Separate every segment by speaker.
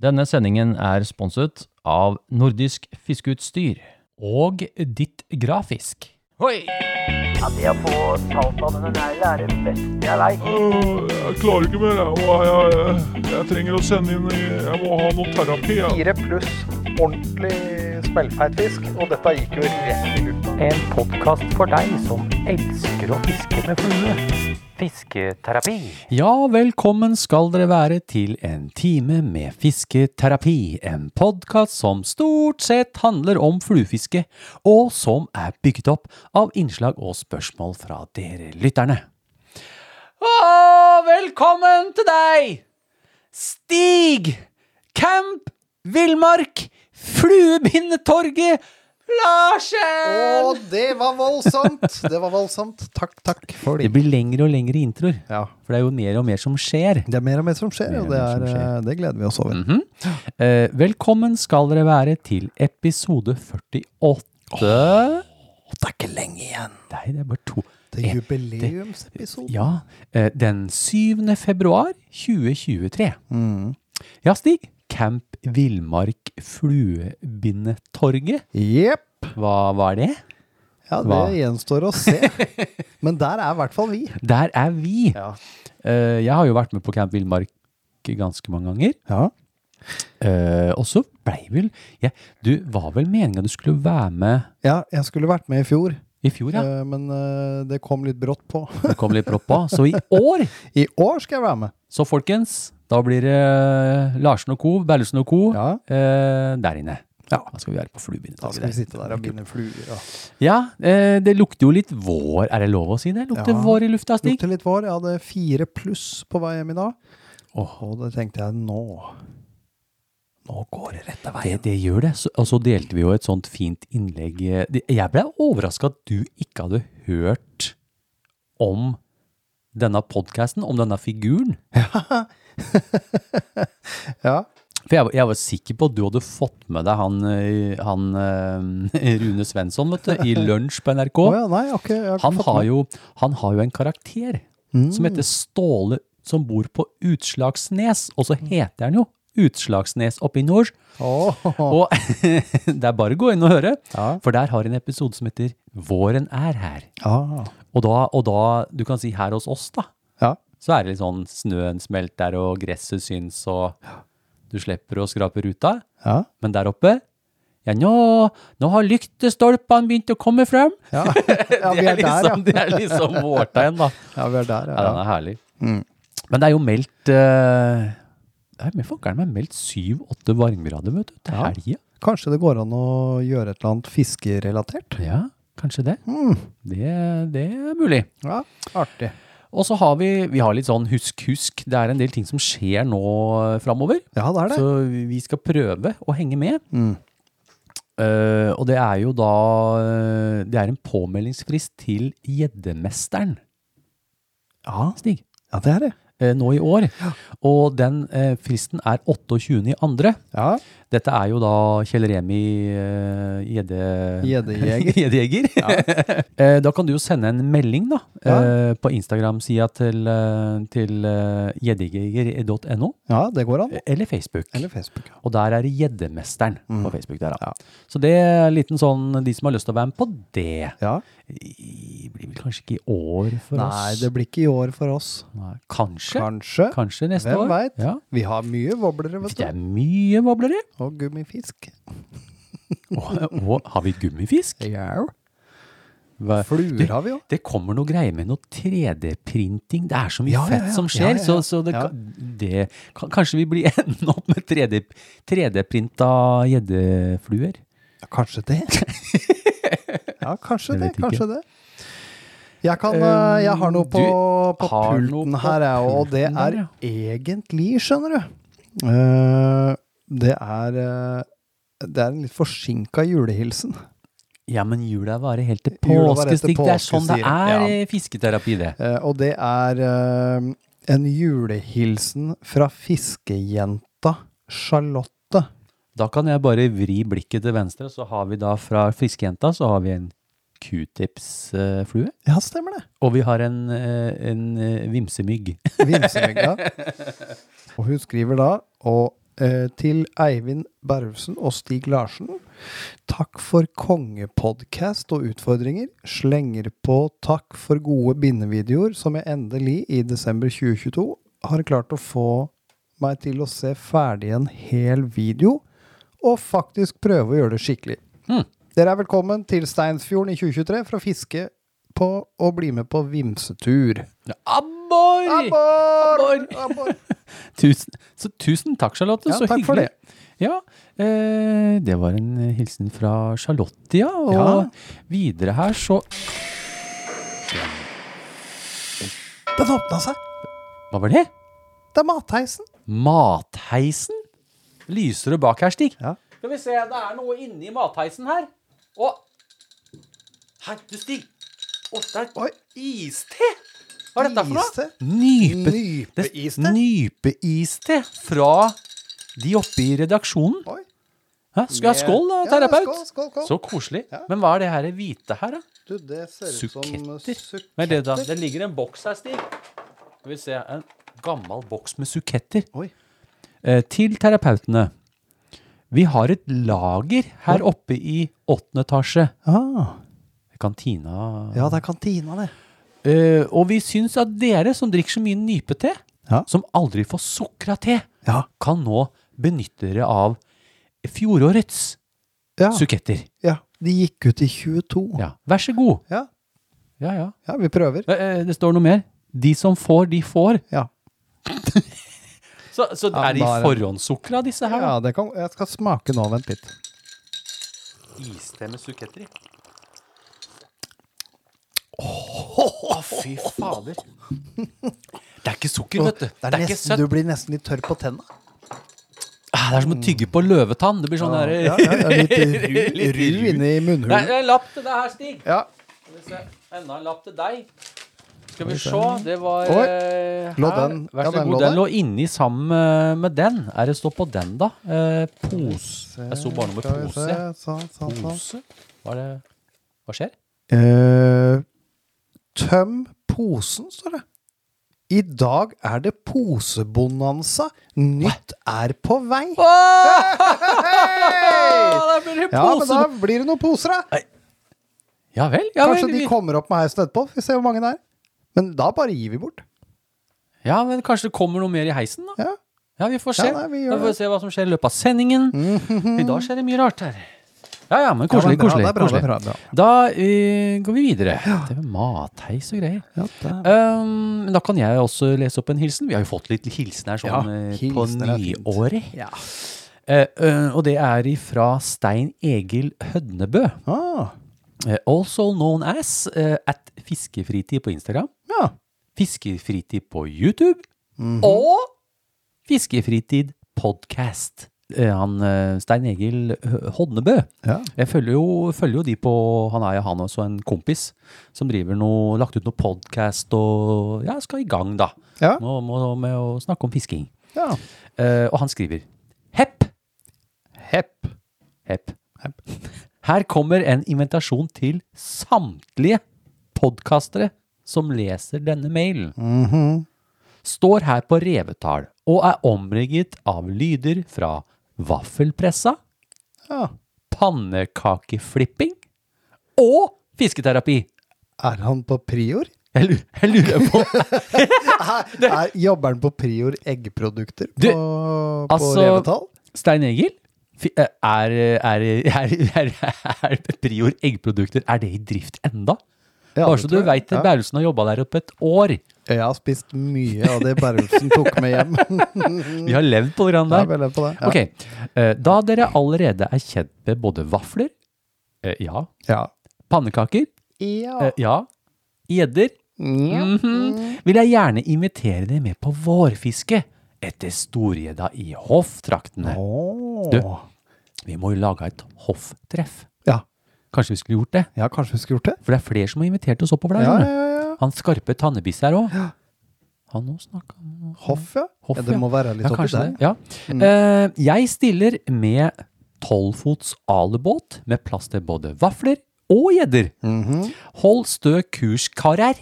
Speaker 1: Denne sendingen er sponset av Nordisk Fiskeutstyr.
Speaker 2: Og ditt grafisk.
Speaker 1: Hoi!
Speaker 3: Ja, det å få talt av denne neglen er det beste jeg veit.
Speaker 4: Åh, Jeg klarer ikke mer. Jeg, Åh, jeg, jeg, jeg trenger å sende inn i- Jeg må ha noe terapi. Jeg.
Speaker 5: Fire pluss ordentlig smellfeit fisk, og dette gikk jo rett i lufta.
Speaker 3: En podkast for deg som elsker å fiske med flue. Fisketerapi.
Speaker 2: Ja, velkommen skal dere være til en time med fisketerapi, en podkast som stort sett handler om fluefiske, og som er bygget opp av innslag og spørsmål fra dere lytterne. Og velkommen til deg, Stig Camp Villmark Fluebindetorget Larsen!
Speaker 5: Og det var voldsomt! Det var voldsomt. Takk, takk for
Speaker 2: Det
Speaker 5: det.
Speaker 2: blir lengre og lengre introer,
Speaker 5: Ja.
Speaker 2: for det er jo mer og mer som skjer.
Speaker 5: Det er mer og mer som skjer,
Speaker 2: Mer og
Speaker 5: og det,
Speaker 2: mer som
Speaker 5: er,
Speaker 2: skjer.
Speaker 5: eh, det gleder vi oss over.
Speaker 2: Mhm. Eh, velkommen skal dere være til episode 48. det er ikke lenge igjen. Nei, det er bare to.
Speaker 5: Det er jubileumsepisoden.
Speaker 2: Ja, eh, den 7. februar 2023. Mm. Ja, Stig. Camp Villmark Fluebindetorget.
Speaker 5: Jepp.
Speaker 2: Hva, hva er det?
Speaker 5: Ja, det
Speaker 2: Hva?
Speaker 5: gjenstår å se. Men der er i hvert fall vi.
Speaker 2: Der er vi. Eh, jeg har jo vært med på Camp Villmark ganske mange ganger.
Speaker 5: Ja.
Speaker 2: Eh, og så blei vel ja, Du var vel meninga du skulle være med
Speaker 5: ja, jeg skulle vært med i fjor,
Speaker 2: i fjor, ja?
Speaker 5: eh, men eh, det kom litt brått på.
Speaker 2: Det kom litt brått på. Så i år,
Speaker 5: I år skal jeg være med.
Speaker 2: så folkens, da blir det eh, Larsen og co., Berlesen og co.
Speaker 5: Ja.
Speaker 2: Eh, der inne.
Speaker 5: Ja.
Speaker 2: Da skal vi være på
Speaker 5: Da skal vi
Speaker 2: fluebindet.
Speaker 5: sitte der og binde fluer. og-
Speaker 2: Ja, eh, det lukter jo litt vår, er det lov å si det? Lukter
Speaker 5: Ja.
Speaker 2: vår i lufta, Stig?
Speaker 5: Lukter litt vår. Jeg hadde fire pluss på vei hjem i dag. Og da tenkte jeg nå Nå går det rette
Speaker 2: Det,
Speaker 5: veien.
Speaker 2: det gjør det. Så, og så delte vi jo et sånt fint innlegg. eh, det- Jeg ble overraska at du ikke hadde hørt om denne podkasten, om denne figuren.
Speaker 5: Ja.
Speaker 2: For jeg, var- jeg var sikker på at du hadde fått med deg han, eh, han eh, Rune Svensson, vet du, i lunsj på NRK.
Speaker 5: Å ja, nei, jeg har ikke, jeg har ikke
Speaker 2: han,
Speaker 5: fått
Speaker 2: har
Speaker 5: med. Mm.
Speaker 2: jo, han har jo en karakter som heter Ståle, som bor på Utslagsnes. Og så heter han jo Utslagsnes oppe i nord.
Speaker 5: Åh.
Speaker 2: Og det er bare å gå inn og høre,
Speaker 5: Ja.
Speaker 2: for der har en episode som heter Våren er her.
Speaker 5: Ah.
Speaker 2: Og da, og da du kan si her hos oss, da,
Speaker 5: Ja.
Speaker 2: så er det litt sånn snøen smelter og gresset syns, og du slipper å skrape ruta.
Speaker 5: Ja.
Speaker 2: Men der oppe ja, nå, nå har lyktestolpene begynt å komme frem.
Speaker 5: Ja. ja, vi
Speaker 2: det, er
Speaker 5: er der, ja.
Speaker 2: liksom, det er liksom vårtegn, da.
Speaker 5: ja vi er der,
Speaker 2: Ja, Mm.
Speaker 5: ja.
Speaker 2: den er herlig. Men det er jo meldt eh, Det er med fankeren meg meldt syv-åtte varmegrader vet du, til
Speaker 5: Ja.
Speaker 2: helga.
Speaker 5: Kanskje det går an å gjøre et eller annet fiskerelatert?
Speaker 2: Ja, kanskje det. det. Mm. Det er mulig.
Speaker 5: Ja, artig.
Speaker 2: Og så har vi, vi har litt sånn husk-husk. Det er en del ting som skjer nå eh, framover.
Speaker 5: Ja, det er det. Mm.
Speaker 2: Så vi skal prøve å henge med. Eh, og det er jo da eh, Det er en påmeldingsfrist til Gjeddemesteren,
Speaker 5: Ja,
Speaker 2: Stig.
Speaker 5: ja, det er det.
Speaker 2: eh, nå i år. Og den eh, fristen er 28. i andre.
Speaker 5: Ja,
Speaker 2: Dette er jo da Kjell Remi eh, gjedde-
Speaker 5: Gjeddejeger.
Speaker 2: Gjeddejeger. Eh, da kan du jo sende en melding da,
Speaker 5: Ja.
Speaker 2: eh, på Instagram-sida til, eh, til eh, gjeddejeger.no,
Speaker 5: ja det går an.
Speaker 2: eller Facebook.
Speaker 5: Eller Facebook. ja.
Speaker 2: og der er det Gjeddemesteren på
Speaker 5: Mm.
Speaker 2: Facebook. der da. Så det er en liten sånn, de som har lyst til å være med på det,
Speaker 5: Ja.
Speaker 2: i- blir vel kanskje ikke i år for
Speaker 5: Nei,
Speaker 2: oss?
Speaker 5: det blir ikke i år for oss.
Speaker 2: Nei, kanskje.
Speaker 5: Kanskje.
Speaker 2: Kanskje neste
Speaker 5: Hvem
Speaker 2: år.
Speaker 5: veit?
Speaker 2: Ja.
Speaker 5: Vi har mye voblere, vet
Speaker 2: Det
Speaker 5: du.
Speaker 2: er mye voblere.
Speaker 5: Og gummifisk.
Speaker 2: Og, og har vi gummifisk?
Speaker 5: Ja.
Speaker 2: Hva-
Speaker 5: Fluer har vi jo.
Speaker 2: Det kommer noe greier med noe 3D-printing. Det er så mye
Speaker 5: Ja, ja,
Speaker 2: fett
Speaker 5: ja.
Speaker 2: som
Speaker 5: Ja,
Speaker 2: skjer.
Speaker 5: ja, ja.
Speaker 2: Så, så det,
Speaker 5: Ja.
Speaker 2: kan- det kan, Kanskje vi blir enden opp med 3D 3D-printa gjeddefluer.
Speaker 5: Ja, kanskje det. ja, kanskje
Speaker 2: Jeg
Speaker 5: det.
Speaker 2: vet ikke. Um,
Speaker 5: Kanskje det. Jeg, kan, eh, jeg har noe
Speaker 2: du
Speaker 5: på, på
Speaker 2: har
Speaker 5: pulten
Speaker 2: noe på
Speaker 5: her, jeg, og det
Speaker 2: pulten
Speaker 5: er
Speaker 2: der,
Speaker 5: egentlig, skjønner du Eh, Det er eh, Det er en litt forsinka julehilsen.
Speaker 2: Ja, men jula varer helt til
Speaker 5: Jula
Speaker 2: påske,
Speaker 5: varer til
Speaker 2: Stig. Det er sånn det
Speaker 5: påske, sier
Speaker 2: er
Speaker 5: jeg. Ja.
Speaker 2: eh, fisketerapi, det.
Speaker 5: Eh, Og det er eh, en julehilsen fra fiskejenta Charlotte.
Speaker 2: Da kan jeg bare vri blikket til venstre, så har vi da fra fiskejenta så har vi en q-tips-flue.
Speaker 5: Ja, stemmer det.
Speaker 2: Og vi har en, eh, en eh, vimsemygg.
Speaker 5: Vimsemygga. Og hun skriver da Og eh, til Eivind Bervsen og Stig Larsen. Takk for kongepodcast og utfordringer. Slenger på takk for gode bindevideoer som jeg endelig, i desember 2022, har klart å få meg til å se ferdig en hel video, og faktisk prøve å gjøre det skikkelig.
Speaker 2: Mm.
Speaker 5: Dere er velkommen til Steinsfjorden i 2023 for å fiske på og bli med på vimsetur.
Speaker 2: Abbor!
Speaker 5: Abbor! Abbor!
Speaker 2: Tusen, så tusen takk, Charlotte.
Speaker 5: Ja,
Speaker 2: så
Speaker 5: takk
Speaker 2: hyggelig.
Speaker 5: for det.
Speaker 2: Ja, eh, det var en eh, hilsen fra Charlotte, ja. Og
Speaker 5: Ja.
Speaker 2: videre her så
Speaker 5: Den åpna seg!
Speaker 2: Hva var det?
Speaker 5: Det er matheisen!
Speaker 2: Matheisen? Lyser det bak her, Stig?
Speaker 5: Ja.
Speaker 2: Skal vi se, det er noe inni matheisen her. Å! Her, du, Stig. Å, det er
Speaker 5: Oi.
Speaker 2: iste! Hva er dette for noe?
Speaker 5: Iste.
Speaker 2: Nype, det-
Speaker 5: Nypeiste?
Speaker 2: Nypeiste fra de oppe i redaksjonen.
Speaker 5: Oi.
Speaker 2: Hæ? Skal jeg ha skål, da,
Speaker 5: Ja,
Speaker 2: terapeut?
Speaker 5: skål, skål, skål.
Speaker 2: Så koselig. Men hva er det her hvite her, da?
Speaker 5: Du, det ser ut som uh,
Speaker 2: Suketter.
Speaker 5: suk-
Speaker 2: Hva er det, da? Det ligger en boks her, Stig. Skal vi se. En gammel boks med suketter.
Speaker 5: Oi.
Speaker 2: Eh, til terapeutene. Vi har et lager her oppe i åttende etasje.
Speaker 5: Ah,
Speaker 2: Kantina.
Speaker 5: ja, det er kantina, det.
Speaker 2: Eh, og vi syns at dere som drikker så mye nypete,
Speaker 5: Ja.
Speaker 2: som aldri får sukra te,
Speaker 5: Ja.
Speaker 2: kan nå benytte dere av fjorårets
Speaker 5: Ja,
Speaker 2: suketter.
Speaker 5: ja. De gikk ut i 22. Ja,
Speaker 2: Ja. Vær så god.
Speaker 5: ja,
Speaker 2: Ja, ja.
Speaker 5: vi prøver.
Speaker 2: Eh, eh, Det står noe mer. De som får, de får.
Speaker 5: Ja.
Speaker 2: Så, så
Speaker 5: Ja,
Speaker 2: er de
Speaker 5: da er det-
Speaker 2: forhåndssukra, disse her?
Speaker 5: Ja, det kan, jeg skal smake nå, vent litt.
Speaker 2: Iste med suketter i. Å, fy fader. Det er ikke sukker, vet du. Det er, ikke
Speaker 5: nesten,
Speaker 2: søtt.
Speaker 5: du blir nesten litt tørr på tenna.
Speaker 2: Ah, Det er som å tygge på løvetann. Det blir sånn der
Speaker 5: Ja, ja, det er litt ru,
Speaker 2: Litt ru.
Speaker 5: ru inne i
Speaker 2: Det
Speaker 5: munnhulen.
Speaker 2: er en lapp til deg her, Stig.
Speaker 5: Ja,
Speaker 2: Skal vi se. Enda en lapp til deg. Skal vi se. Det var
Speaker 5: Oi.
Speaker 2: eh,
Speaker 5: Lå
Speaker 2: her.
Speaker 5: den-
Speaker 2: Vær
Speaker 5: ja,
Speaker 2: så
Speaker 5: den
Speaker 2: god.
Speaker 5: lå
Speaker 2: Den
Speaker 5: der.
Speaker 2: lå inni sammen eh, med den. Er det stå på den, da? Eh, pose. Jeg så bare noe med
Speaker 5: Skal vi
Speaker 2: pose.
Speaker 5: se, Sånn, sånn, sånn.
Speaker 2: Pose? Hva, er det? Hva skjer?
Speaker 5: Eh, tøm posen, står det. I dag er det posebonanza. Nytt er på vei.
Speaker 2: Da blir det
Speaker 5: Ja, men da blir det noen poser, da.
Speaker 2: Ja vel? Ja,
Speaker 5: Kanskje
Speaker 2: vel,
Speaker 5: de
Speaker 2: vi-
Speaker 5: kommer opp med heisen etterpå. Vi ser hvor mange det er. Men da bare gir vi bort.
Speaker 2: ja, men kanskje det kommer noe mer i heisen, da?
Speaker 5: Ja.
Speaker 2: Ja, vi får se.
Speaker 5: Ja, nei, vi gjør
Speaker 2: Da får vi
Speaker 5: det.
Speaker 2: se hva som skjer i løpet av sendingen. I dag skjer det mye rart her. Ja, ja, men koselig,
Speaker 5: Ja, men bra,
Speaker 2: koselig.
Speaker 5: det er bra,
Speaker 2: koselig.
Speaker 5: det er bra, det er bra.
Speaker 2: Da eh, går vi videre. Det er matheis og greier. Um, da kan jeg også lese opp en hilsen. Vi har jo fått litt hilsen her
Speaker 5: Ja,
Speaker 2: sånn eh, på
Speaker 5: hilsen er fint.
Speaker 2: nyåret.
Speaker 5: Ja.
Speaker 2: Eh, eh, og det er ifra Stein Egil Hødnebø.
Speaker 5: Ah,
Speaker 2: Eh, also known as eh, at fiskefritid på Instagram,
Speaker 5: ja.
Speaker 2: fiskefritid på YouTube og fiskefritid podcast. Eh, han eh, Stein Egil Hø- Hodnebø.
Speaker 5: Ja.
Speaker 2: Jeg følger jo, følger jo de på Han er jo han også en kompis som driver noe Lagt ut noe podcast og ja, skal i gang, da.
Speaker 5: Ja.
Speaker 2: Nå må, med å snakke om fisking.
Speaker 5: ja.
Speaker 2: Eh, og han skriver Hepp! Hepp. Hepp. Her kommer en invitasjon til samtlige podkastere som leser denne mailen. Mm-hmm. Står her på revetall og er omringet av lyder fra vaffelpressa,
Speaker 5: ja.
Speaker 2: pannekakeflipping og fisketerapi.
Speaker 5: Er han på prior?
Speaker 2: Jeg lurer, jeg lurer på
Speaker 5: Er, er, jobber han på prior eggprodukter på,
Speaker 2: Du,
Speaker 5: på
Speaker 2: altså-
Speaker 5: revetall?
Speaker 2: Stein Egil? fi- eh, Er, er, er, er, er Prior eggprodukter er det i drift enda?
Speaker 5: Ja,
Speaker 2: Bare
Speaker 5: det
Speaker 2: så
Speaker 5: tror
Speaker 2: du
Speaker 5: jeg.
Speaker 2: veit,
Speaker 5: Ja.
Speaker 2: Berlesen har jobba der oppe et år.
Speaker 5: Jeg har spist mye av det Berlsen tok med hjem.
Speaker 2: Vi har levd på det grann
Speaker 5: Ja,
Speaker 2: der.
Speaker 5: vel, jeg på det. Ja.
Speaker 2: Ok, eh, Da dere allerede er kjent med både vafler, eh, ja,
Speaker 5: Ja.
Speaker 2: pannekaker,
Speaker 5: Ja.
Speaker 2: eh, ja, gjedder, mhm, vil jeg gjerne invitere dere med på vårfiske etter storgjedda i hofftraktene.
Speaker 5: Åh.
Speaker 2: Du, vi må jo lage et hofftreff.
Speaker 5: Ja.
Speaker 2: Kanskje vi skulle gjort det?
Speaker 5: ja, kanskje vi skulle gjort det?
Speaker 2: For det er flere som har invitert oss oppover der.
Speaker 5: Ja,
Speaker 2: skjønner du.
Speaker 5: ja, ja.
Speaker 2: Han skarpe tannebisse her òg. Han òg snakka om noe.
Speaker 5: Hoff, ja.
Speaker 2: Hoff,
Speaker 5: ja. Det
Speaker 2: ja.
Speaker 5: må være litt
Speaker 2: Ja,
Speaker 5: oppi
Speaker 2: kanskje
Speaker 5: der. Mm.
Speaker 2: det. Ja. Eh, jeg stiller med tolvfots alubåt med plass til både vafler og gjedder.
Speaker 5: Mhm.
Speaker 2: Hold stø kurs, karer,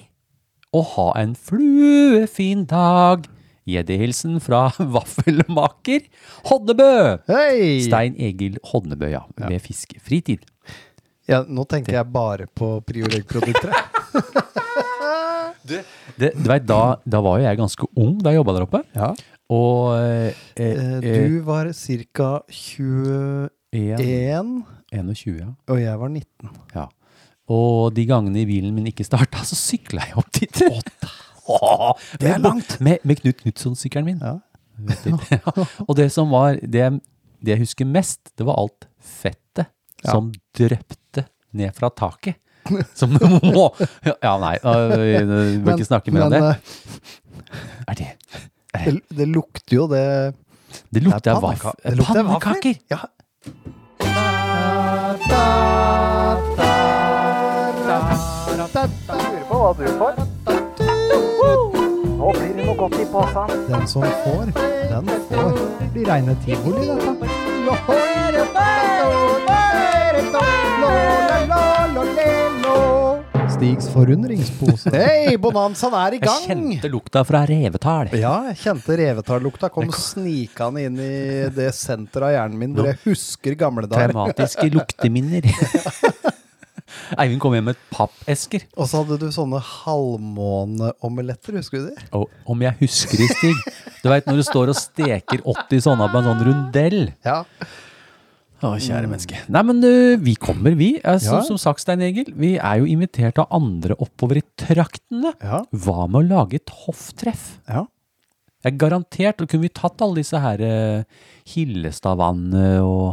Speaker 2: og ha en fluefin dag. Gjeddehilsen fra vaffelmaker Hodnebø!
Speaker 5: Hei!
Speaker 2: Stein Egil Hodnebø, ja. Med fiskefritid.
Speaker 5: Ja, nå tenkte jeg bare på Prioreg-produkter.
Speaker 2: Det, du vet, da, da var jo jeg ganske ung da jeg jobba der oppe.
Speaker 5: Ja.
Speaker 2: Og eh, eh,
Speaker 5: Eh, Du var ca. 21,
Speaker 2: en- 21, ja.
Speaker 5: og jeg var 19.
Speaker 2: ja. Og de gangene i bilen min ikke starta, så sykla jeg opp dit. det
Speaker 5: er langt.
Speaker 2: Med, med Knut Knutson-sykkelen min.
Speaker 5: Ja.
Speaker 2: Vet du. Ja. Og det som var det, det jeg husker mest, det var alt fettet
Speaker 5: Ja.
Speaker 2: som drøpte ned fra taket. Som må Ja, nei, øh, vi bør ikke snakke mer om det.
Speaker 5: eh,
Speaker 2: Er det.
Speaker 5: det. eh, Det lukter jo det
Speaker 2: Det lukter av
Speaker 5: panneka-
Speaker 2: vaff-
Speaker 5: det lukter
Speaker 2: pannekaker!
Speaker 5: vafler. Ja.
Speaker 3: Nå blir det noe godt i posen.
Speaker 5: Den som får, den får. Det blir reine tivoli, dette. Stigs forundringspose. Hei, bonanzaen er i
Speaker 2: Jeg
Speaker 5: gang!
Speaker 2: kjente lukta fra revetall.
Speaker 5: Ja, jeg kjente revetallukta kom snikende inn i det senteret av hjernen min hvor jeg husker gamle dager.
Speaker 2: Traumatiske lukteminner. Eivind kom hjem med pappesker.
Speaker 5: Og så hadde du sånne halvmåneomeletter, husker du det?
Speaker 2: Og om jeg husker i Stig Du veit når du står og steker 80 sånne på en sånn rundell.
Speaker 5: Ja.
Speaker 2: Å, kjære menneske. Nei, men ø, vi kommer, vi. Eh, Som,
Speaker 5: Ja.
Speaker 2: som sagt, Stein Egil, vi er jo invitert av andre oppover i traktene.
Speaker 5: Ja.
Speaker 2: Hva med å lage et hofftreff?
Speaker 5: ja.
Speaker 2: Jeg er garantert, og kunne vi tatt alle disse her eh, Hillestadvannet og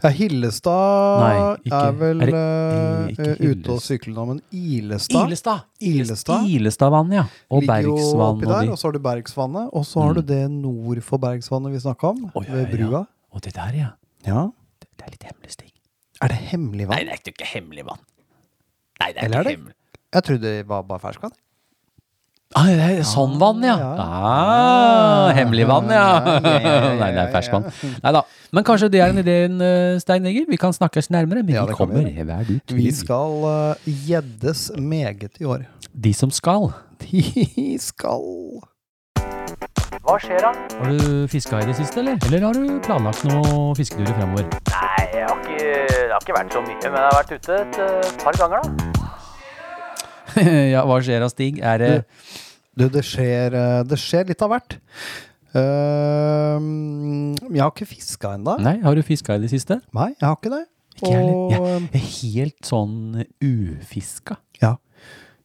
Speaker 5: Ja, Hillestad
Speaker 2: Nei, ikke-
Speaker 5: er vel
Speaker 2: er det-
Speaker 5: eh,
Speaker 2: ikke
Speaker 5: eh, ute og
Speaker 2: Hillest-
Speaker 5: sykler nå, men Ilestad
Speaker 2: Ilestad!
Speaker 5: Ilestad.
Speaker 2: Ilestadvannet, ja. Og
Speaker 5: ligger jo
Speaker 2: Bergsvann og
Speaker 5: oppi der,
Speaker 2: de. Mm.
Speaker 5: og så har du Bergsvannet, og så har du det nord for Bergsvannet vi snakka om,
Speaker 2: Å, ja,
Speaker 5: ved
Speaker 2: ja, ja.
Speaker 5: brua.
Speaker 2: Og det der, ja.
Speaker 5: Ja.
Speaker 2: Det, det er litt hemmelig, Stig.
Speaker 5: Er det hemmelig vann?
Speaker 2: Nei, det er ikke hemmelig vann. Nei, det er
Speaker 5: Eller er
Speaker 2: ikke
Speaker 5: det?
Speaker 2: hemmelig.
Speaker 5: Jeg trodde det var bare ferskvann.
Speaker 2: Ah, det er sånn vann, ja.
Speaker 5: Ja.
Speaker 2: Ah, hemmelig vann, ja.
Speaker 5: Ja, ja, ja, ja, ja.
Speaker 2: Nei, det er ferskvann. Nei da. Men kanskje det er en idé, en, eh, Stein Egil. Vi kan snakkes nærmere, men
Speaker 5: Ja,
Speaker 2: vi
Speaker 5: det kan vi
Speaker 2: kommer.
Speaker 5: gjøre.
Speaker 2: Vær du
Speaker 5: Vi
Speaker 2: trygg.
Speaker 5: skal eh, gjeddes meget i år.
Speaker 2: De som skal.
Speaker 5: De skal
Speaker 3: Hva skjer da?
Speaker 1: Har du fiska i det siste, eller? Eller har du planlagt noen fisketurer fremover?
Speaker 3: Nei, jeg har ikke, det har ikke vært så mye, men jeg har vært ute et eh, par ganger da.
Speaker 2: ja, hva skjer da, Stig? Er det
Speaker 5: Du, det skjer, eh, det skjer litt av hvert. Eh, jeg har ikke fiska ennå.
Speaker 2: Nei, har du fiska i det siste?
Speaker 5: Nei, jeg har Mm. ikke det.
Speaker 2: Ikke jeg heller.
Speaker 5: Og, eh,
Speaker 2: Jeg er Helt sånn ufiska.
Speaker 5: Ja.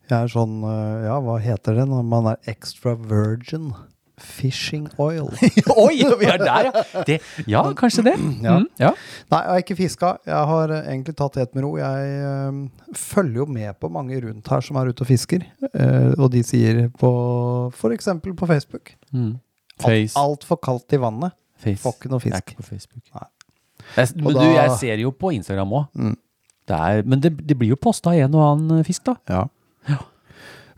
Speaker 5: Jeg er sånn øh, Ja, hva heter det når man er extra virgin? Fishing oil.
Speaker 2: Oi, vi er der, ja! Det, ja, kanskje det.
Speaker 5: Ja.
Speaker 2: Mm, ja.
Speaker 5: Nei, jeg har ikke fiska. Jeg har øh, egentlig tatt det helt med ro. Jeg øh, følger jo med på mange rundt her som er ute og fisker. øh, og de sier på f.eks. på Facebook
Speaker 2: Mm.
Speaker 5: alt altfor kaldt i vannet.
Speaker 2: Face.
Speaker 5: Får ikke noe
Speaker 2: Jeg er
Speaker 5: fisk.
Speaker 2: ikke på Facebook.
Speaker 5: Nei.
Speaker 2: Jeg, men
Speaker 5: Og
Speaker 2: du,
Speaker 5: da-
Speaker 2: jeg ser jo på Instagram òg.
Speaker 5: Mm.
Speaker 2: Men det, det blir jo posta en og annen eh, fisk, da.
Speaker 5: Ja.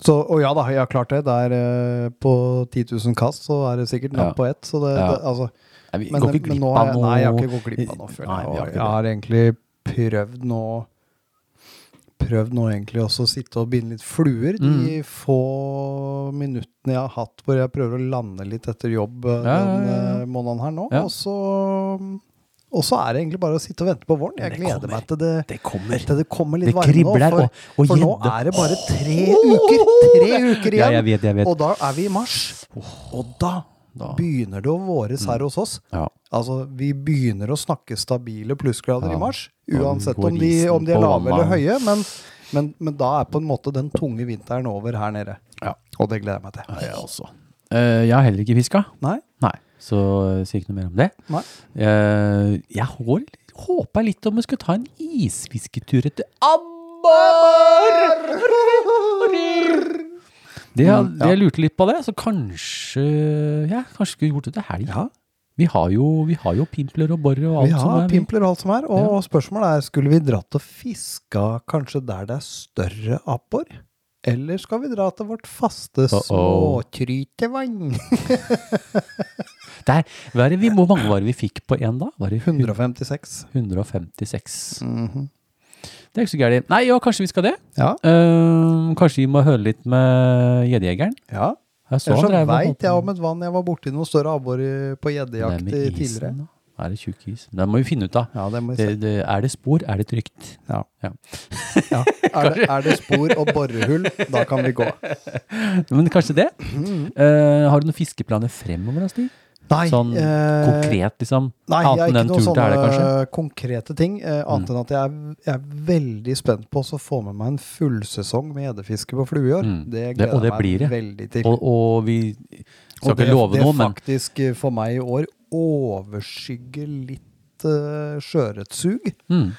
Speaker 5: Så, og ja da, jeg har klart det. Det er øh, på 10 000 kast, så er det sikkert napp
Speaker 2: Ja.
Speaker 5: på ett. Så det,
Speaker 2: Ja.
Speaker 5: det altså
Speaker 2: Nei, vi
Speaker 5: Men,
Speaker 2: går ikke
Speaker 5: men
Speaker 2: glipp
Speaker 5: nå
Speaker 2: av
Speaker 5: har jeg,
Speaker 2: noe
Speaker 5: nei, jeg har ikke gått glipp av noe før.
Speaker 2: Nei, vi har ikke
Speaker 5: jeg har egentlig prøvd nå Prøvd nå egentlig også å sitte og binde litt fluer
Speaker 2: Mm.
Speaker 5: de få minuttene jeg har hatt hvor jeg prøver å lande litt etter jobb eh,
Speaker 2: Ja, ja,
Speaker 5: den
Speaker 2: ja, ja.
Speaker 5: eh, måneden her nå.
Speaker 2: Ja.
Speaker 5: Og så og så er det egentlig bare å sitte og vente på våren. Jeg
Speaker 2: det
Speaker 5: gleder
Speaker 2: kommer.
Speaker 5: meg til det,
Speaker 2: Det kommer.
Speaker 5: til det kommer litt
Speaker 2: Det
Speaker 5: varme nå.
Speaker 2: kribler,
Speaker 5: For,
Speaker 2: og- og
Speaker 5: for nå
Speaker 2: gjedde.
Speaker 5: er det bare tre uker, tre
Speaker 2: Ja,
Speaker 5: uker igjen!
Speaker 2: jeg vet, jeg vet.
Speaker 5: Og da er vi i mars. Og da,
Speaker 2: Da-
Speaker 5: begynner det å våres
Speaker 2: Mm.
Speaker 5: her hos oss.
Speaker 2: Ja.
Speaker 5: Altså, vi begynner å snakke stabile plussgrader
Speaker 2: Ja.
Speaker 5: i mars,
Speaker 2: den
Speaker 5: uansett
Speaker 2: går
Speaker 5: om de,
Speaker 2: isen
Speaker 5: om de er
Speaker 2: på
Speaker 5: lave eller
Speaker 2: vannet.
Speaker 5: høye, men, men, men da er på en måte den tunge vinteren over her nede. Og det gleder jeg meg til.
Speaker 2: Jeg også. Eh, jeg har heller ikke fiska.
Speaker 5: Nei?
Speaker 2: Nei, så eh, sier ikke noe mer om det.
Speaker 5: Nei.
Speaker 2: Eh, jeg hår, håpa litt om vi skulle ta en isfisketur etter Det, jeg- det jeg lurte litt på det, så kanskje ja, kanskje skulle gjort det til helg. Vi, har jo, vi har jo pimpler og borre og alt
Speaker 5: Vi
Speaker 2: som
Speaker 5: har
Speaker 2: er. vi.
Speaker 5: pimpler og alt som er, og spørsmålet er skulle vi dratt og fiska kanskje der det er større abbor? Eller skal vi dra til vårt faste
Speaker 2: Uh-oh.
Speaker 5: småtrytevann?
Speaker 2: Der, hva er det vi, hvor mange var det vi fikk på én da? Var det
Speaker 5: 156.
Speaker 2: 156? Det er ikke så gærent. Nei, ja, kanskje vi skal det.
Speaker 5: Mhm. Ja.
Speaker 2: Eh, kanskje vi må høre litt med gjeddejegeren.
Speaker 5: Ja.
Speaker 2: Jeg så
Speaker 5: Ellers
Speaker 2: han
Speaker 5: så
Speaker 2: drev og holdt
Speaker 5: veit jeg
Speaker 2: på
Speaker 5: om et vann jeg var borti noe større abbor i- på gjeddejakt
Speaker 2: med isen,
Speaker 5: tidligere.
Speaker 2: da. Er det tjukk is? Det må vi finne ut av.
Speaker 5: Ja, det må vi se.
Speaker 2: Det, det, er det spor, er det trygt?
Speaker 5: Ja.
Speaker 2: Ja.
Speaker 5: Ja. Er, det, er det spor og borehull, da kan vi gå.
Speaker 2: Men kanskje det?
Speaker 5: Mm.
Speaker 2: Eh, har du noen fiskeplaner fremover, da, Stig?
Speaker 5: Nei,
Speaker 2: Sånn
Speaker 5: eh,
Speaker 2: konkret, liksom?
Speaker 5: Nei, jeg
Speaker 2: Annet enn
Speaker 5: har ikke sånn,
Speaker 2: den
Speaker 5: noen
Speaker 2: turen til
Speaker 5: sånne
Speaker 2: Elga, kanskje? Mm.
Speaker 5: konkrete ting. Eh, annet enn at jeg er, jeg er veldig spent på å få med meg en fullsesong med gjeddefiske på flue i år.
Speaker 2: Mm.
Speaker 5: Det
Speaker 2: Det- og
Speaker 5: gleder
Speaker 2: det
Speaker 5: jeg
Speaker 2: blir det.
Speaker 5: meg veldig til.
Speaker 2: Og, og vi skal
Speaker 5: eh, Og det,
Speaker 2: ikke love
Speaker 5: det
Speaker 2: noe, men
Speaker 5: faktisk eh, for meg i år overskygger litt eh, sjøørretsug.
Speaker 2: mm,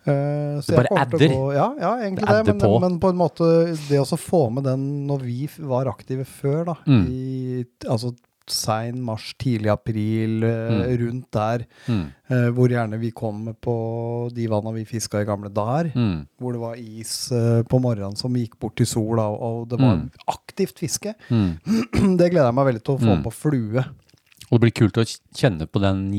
Speaker 5: Eh, så
Speaker 2: Det
Speaker 5: jeg
Speaker 2: bare
Speaker 5: kommer til å
Speaker 2: adder.
Speaker 5: gå- Ja, ja egentlig
Speaker 2: Det
Speaker 5: det.
Speaker 2: adder
Speaker 5: men,
Speaker 2: på.
Speaker 5: men på en måte, det å så få med den når vi f- var aktive før, da,
Speaker 2: Mm.
Speaker 5: i altså sein mars, tidlig april, eh,
Speaker 2: Mm.
Speaker 5: rundt der,
Speaker 2: mm,
Speaker 5: eh, hvor gjerne vi kom på de vanna vi fiska i gamle dager,
Speaker 2: mm.
Speaker 5: hvor det var is eh, på morgenen som gikk bort til sola, og, og det var
Speaker 2: Mm.
Speaker 5: aktivt fiske.
Speaker 2: Mm.
Speaker 5: Det gleder jeg meg veldig til å få
Speaker 2: Mm.
Speaker 5: på flue.
Speaker 2: Og det blir kult å kjenne på den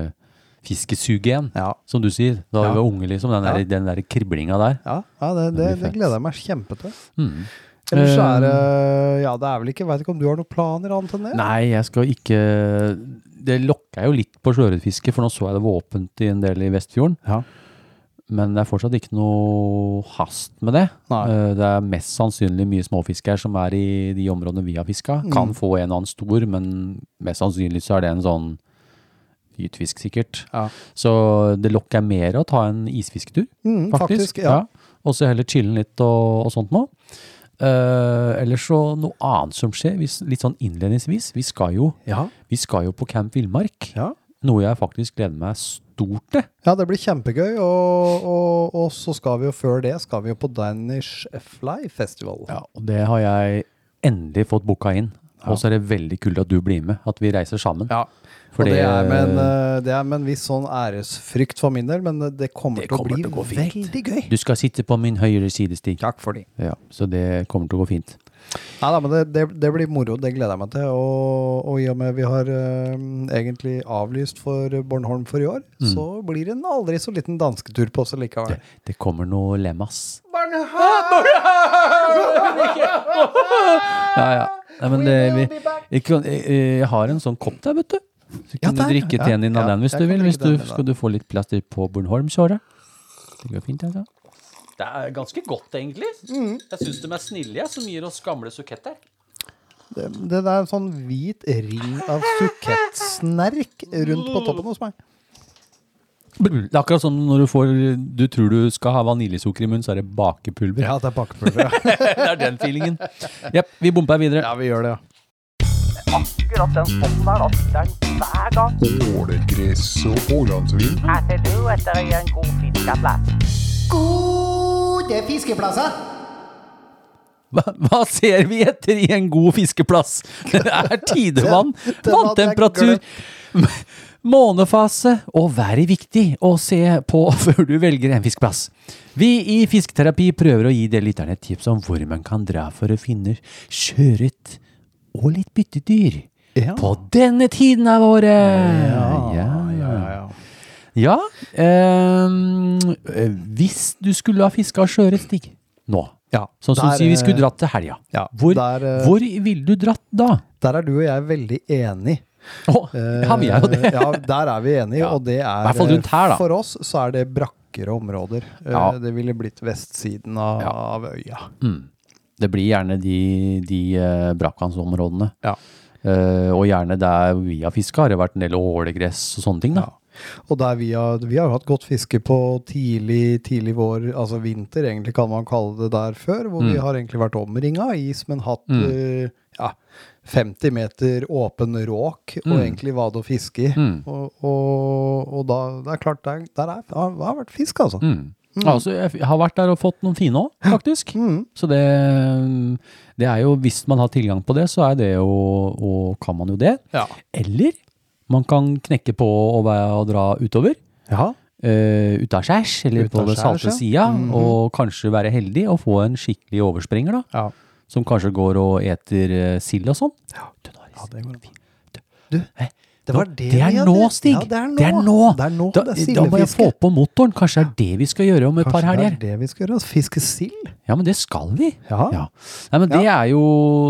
Speaker 2: gjeddefiskesuget igjen,
Speaker 5: Ja.
Speaker 2: som du sier. Da
Speaker 5: Ja.
Speaker 2: vi var unge, liksom. Den der,
Speaker 5: Ja.
Speaker 2: den der kriblinga der.
Speaker 5: Ja, ja det, det,
Speaker 2: Det blir
Speaker 5: det
Speaker 2: fett.
Speaker 5: gleder jeg meg kjempe til.
Speaker 2: Mm.
Speaker 5: Ellers så er det
Speaker 2: Eh,
Speaker 5: Ja, det er vel ikke Veit ikke om du har noen planer annet enn det?
Speaker 2: Nei, jeg skal ikke Det lokka jeg jo litt på sjøørretfiske, for nå så jeg det var åpent i en del i Vestfjorden.
Speaker 5: Ja.
Speaker 2: Men det er fortsatt ikke noe hast med det.
Speaker 5: Nei.
Speaker 2: Eh, Det er mest sannsynlig mye småfisk her som er i de områdene vi har fiska.
Speaker 5: Mm.
Speaker 2: Kan få en og annen stor, men mest sannsynlig så er det en sånn gytfisk, sikkert.
Speaker 5: Ja.
Speaker 2: Så det lokker jeg mer å ta en isfisketur,
Speaker 5: Mm,
Speaker 2: faktisk.
Speaker 5: faktisk, ja.
Speaker 2: Og så heller chille litt og, og sånt nå. Eh, ellers så noe annet som skjer, hvis, litt sånn innledningsvis. Vi skal jo,
Speaker 5: Ja.
Speaker 2: vi skal jo på Camp Villmark,
Speaker 5: Ja.
Speaker 2: noe jeg faktisk gleder meg stort til.
Speaker 5: ja, det blir kjempegøy. Og, og, og så skal vi jo før det skal vi jo på Danish Fly Festival.
Speaker 2: Ja, og det har jeg endelig fått booka inn. Og så er det veldig kult at du blir med, at vi reiser sammen.
Speaker 5: Ja.
Speaker 2: For
Speaker 5: og det
Speaker 2: det-
Speaker 5: er, med en, eh, det er med en viss sånn æresfrykt for min del, men det- det kommer
Speaker 2: Det
Speaker 5: til å
Speaker 2: kommer
Speaker 5: bli
Speaker 2: til å gå fint.
Speaker 5: veldig gøy.
Speaker 2: Du skal sitte på min høyre side, Stig.
Speaker 5: Takk for det.
Speaker 2: eh, Ja, så det kommer til å gå fint.
Speaker 5: Nei da, men det, det, det blir moro. Det gleder jeg meg til. Og, og i og med vi har eh, egentlig avlyst for Bornholm for i år,
Speaker 2: Mm.
Speaker 5: så blir det en aldri så liten dansketur på oss likevel.
Speaker 2: Det kommer noe lemmas. Ja, ja. Nei, men det, vi, jeg, kan, jeg, jeg har en sånn kopp der, vet du. Så
Speaker 5: Ja,
Speaker 2: kan du
Speaker 5: der, ja.
Speaker 2: drikke teen din av
Speaker 5: Ja,
Speaker 2: den hvis
Speaker 5: jeg
Speaker 2: du
Speaker 5: kan
Speaker 2: vil.
Speaker 5: drikke
Speaker 2: Hvis du,
Speaker 5: den din, da.
Speaker 2: skal du få litt plaster på Bornholmsåret. Det går fint, altså. Det er ganske godt, egentlig. Jeg syns de er snille, som gir oss gamle suketter.
Speaker 5: Det, det er en sånn hvit ring av sukettsnerk rundt på toppen hos meg.
Speaker 2: Det er akkurat som når du får Du tror du skal ha vaniljesukker i munnen, så er det bakepulver.
Speaker 5: Ja, det er bakepulver. Ja.
Speaker 2: Det er den feelingen. Jepp, vi bomper videre.
Speaker 5: ja, vi gjør det, ja.
Speaker 3: Akkurat den spotten der, da sitter den hver gang.
Speaker 4: Ålegress og ålandsvin.
Speaker 3: Jeg ser du etter en god fiskeplass.
Speaker 5: Det er fiskeplasser!
Speaker 2: Hva, hva ser vi etter i en god fiskeplass? Det er tidevann,
Speaker 5: Den- den hadde jeg
Speaker 2: vanntemperatur,
Speaker 5: glemt.
Speaker 2: månefase og været viktig å se på før du velger en fiskeplass. Vi i Fisketerapi prøver å gi dere lytterne et tips om hvor man kan dra for å finne sjøørret og litt byttedyr.
Speaker 5: Ja.
Speaker 2: På denne tiden av året! ja, ja.
Speaker 5: ja.
Speaker 2: Ja, ehm, eh, hvis du skulle ha fiska sjøørret, Stig, nå
Speaker 5: Ja,
Speaker 2: Sånn som
Speaker 5: der,
Speaker 2: sier vi skulle
Speaker 5: eh,
Speaker 2: dratt til helga.
Speaker 5: ja,
Speaker 2: hvor,
Speaker 5: der, eh,
Speaker 2: hvor ville du dratt da?
Speaker 5: Der er du og jeg veldig enig.
Speaker 2: Å, ja, vi er jo det.
Speaker 5: Eh, ja, der er vi enige,
Speaker 2: Ja.
Speaker 5: og det er
Speaker 2: I hvert fall rundt her, da.
Speaker 5: For oss så er det brakkere områder. Eh,
Speaker 2: Ja.
Speaker 5: Det ville blitt vestsiden av,
Speaker 2: Ja.
Speaker 5: av øya.
Speaker 2: Mm. Det blir gjerne de, de eh, brakkansområdene.
Speaker 5: Ja.
Speaker 2: Eh, og gjerne der vi har fiska, har det vært en del ålegress og sånne ting. da.
Speaker 5: Og der vi har, vi har jo hatt godt fiske på tidlig, tidlig vår, altså vinter egentlig kan man kalle det der før, hvor
Speaker 2: Mm.
Speaker 5: vi har egentlig vært omringa av is, men hatt eh, ja, 50 meter åpen råk og
Speaker 2: Mm.
Speaker 5: egentlig vade å fiske i. Og, og, og da, det er klart, der, der er, har, har vært fisk, altså.
Speaker 2: Altså, jeg har vært der og fått noen fine òg, faktisk.
Speaker 5: Mm.
Speaker 2: Så det, mm, det er jo, hvis man har tilgang på det, så er det jo, og kan man jo det.
Speaker 5: Ja.
Speaker 2: Eller man kan knekke på og, være, og dra utover.
Speaker 5: Ja.
Speaker 2: Uh, Utaskjærs, eller på den
Speaker 5: Utaskjærs,
Speaker 2: salte sida.
Speaker 5: Mhm.
Speaker 2: Og kanskje være heldig og få en skikkelig overspringer, da.
Speaker 5: Ja.
Speaker 2: Som kanskje går og eter eh, sild og sånn. Du, Doris,
Speaker 5: det går an.
Speaker 2: Du, hæ?
Speaker 5: Det,
Speaker 2: Nå-
Speaker 5: var det,
Speaker 2: det er
Speaker 5: vi hadde.
Speaker 2: nå, Stig.
Speaker 5: Ja, det er nå.
Speaker 2: Det er nå.
Speaker 5: Det er nå.
Speaker 2: Da,
Speaker 5: det er
Speaker 2: da må jeg få
Speaker 5: sildefiske.
Speaker 2: på motoren. Kanskje det er det vi skal gjøre om et par
Speaker 5: Kanskje
Speaker 2: helger.
Speaker 5: Det er det vi skal gjøre. altså. Fiske sild.
Speaker 2: Ja, men det skal vi.
Speaker 5: Ja.
Speaker 2: Ja. Nei, men det, er jo,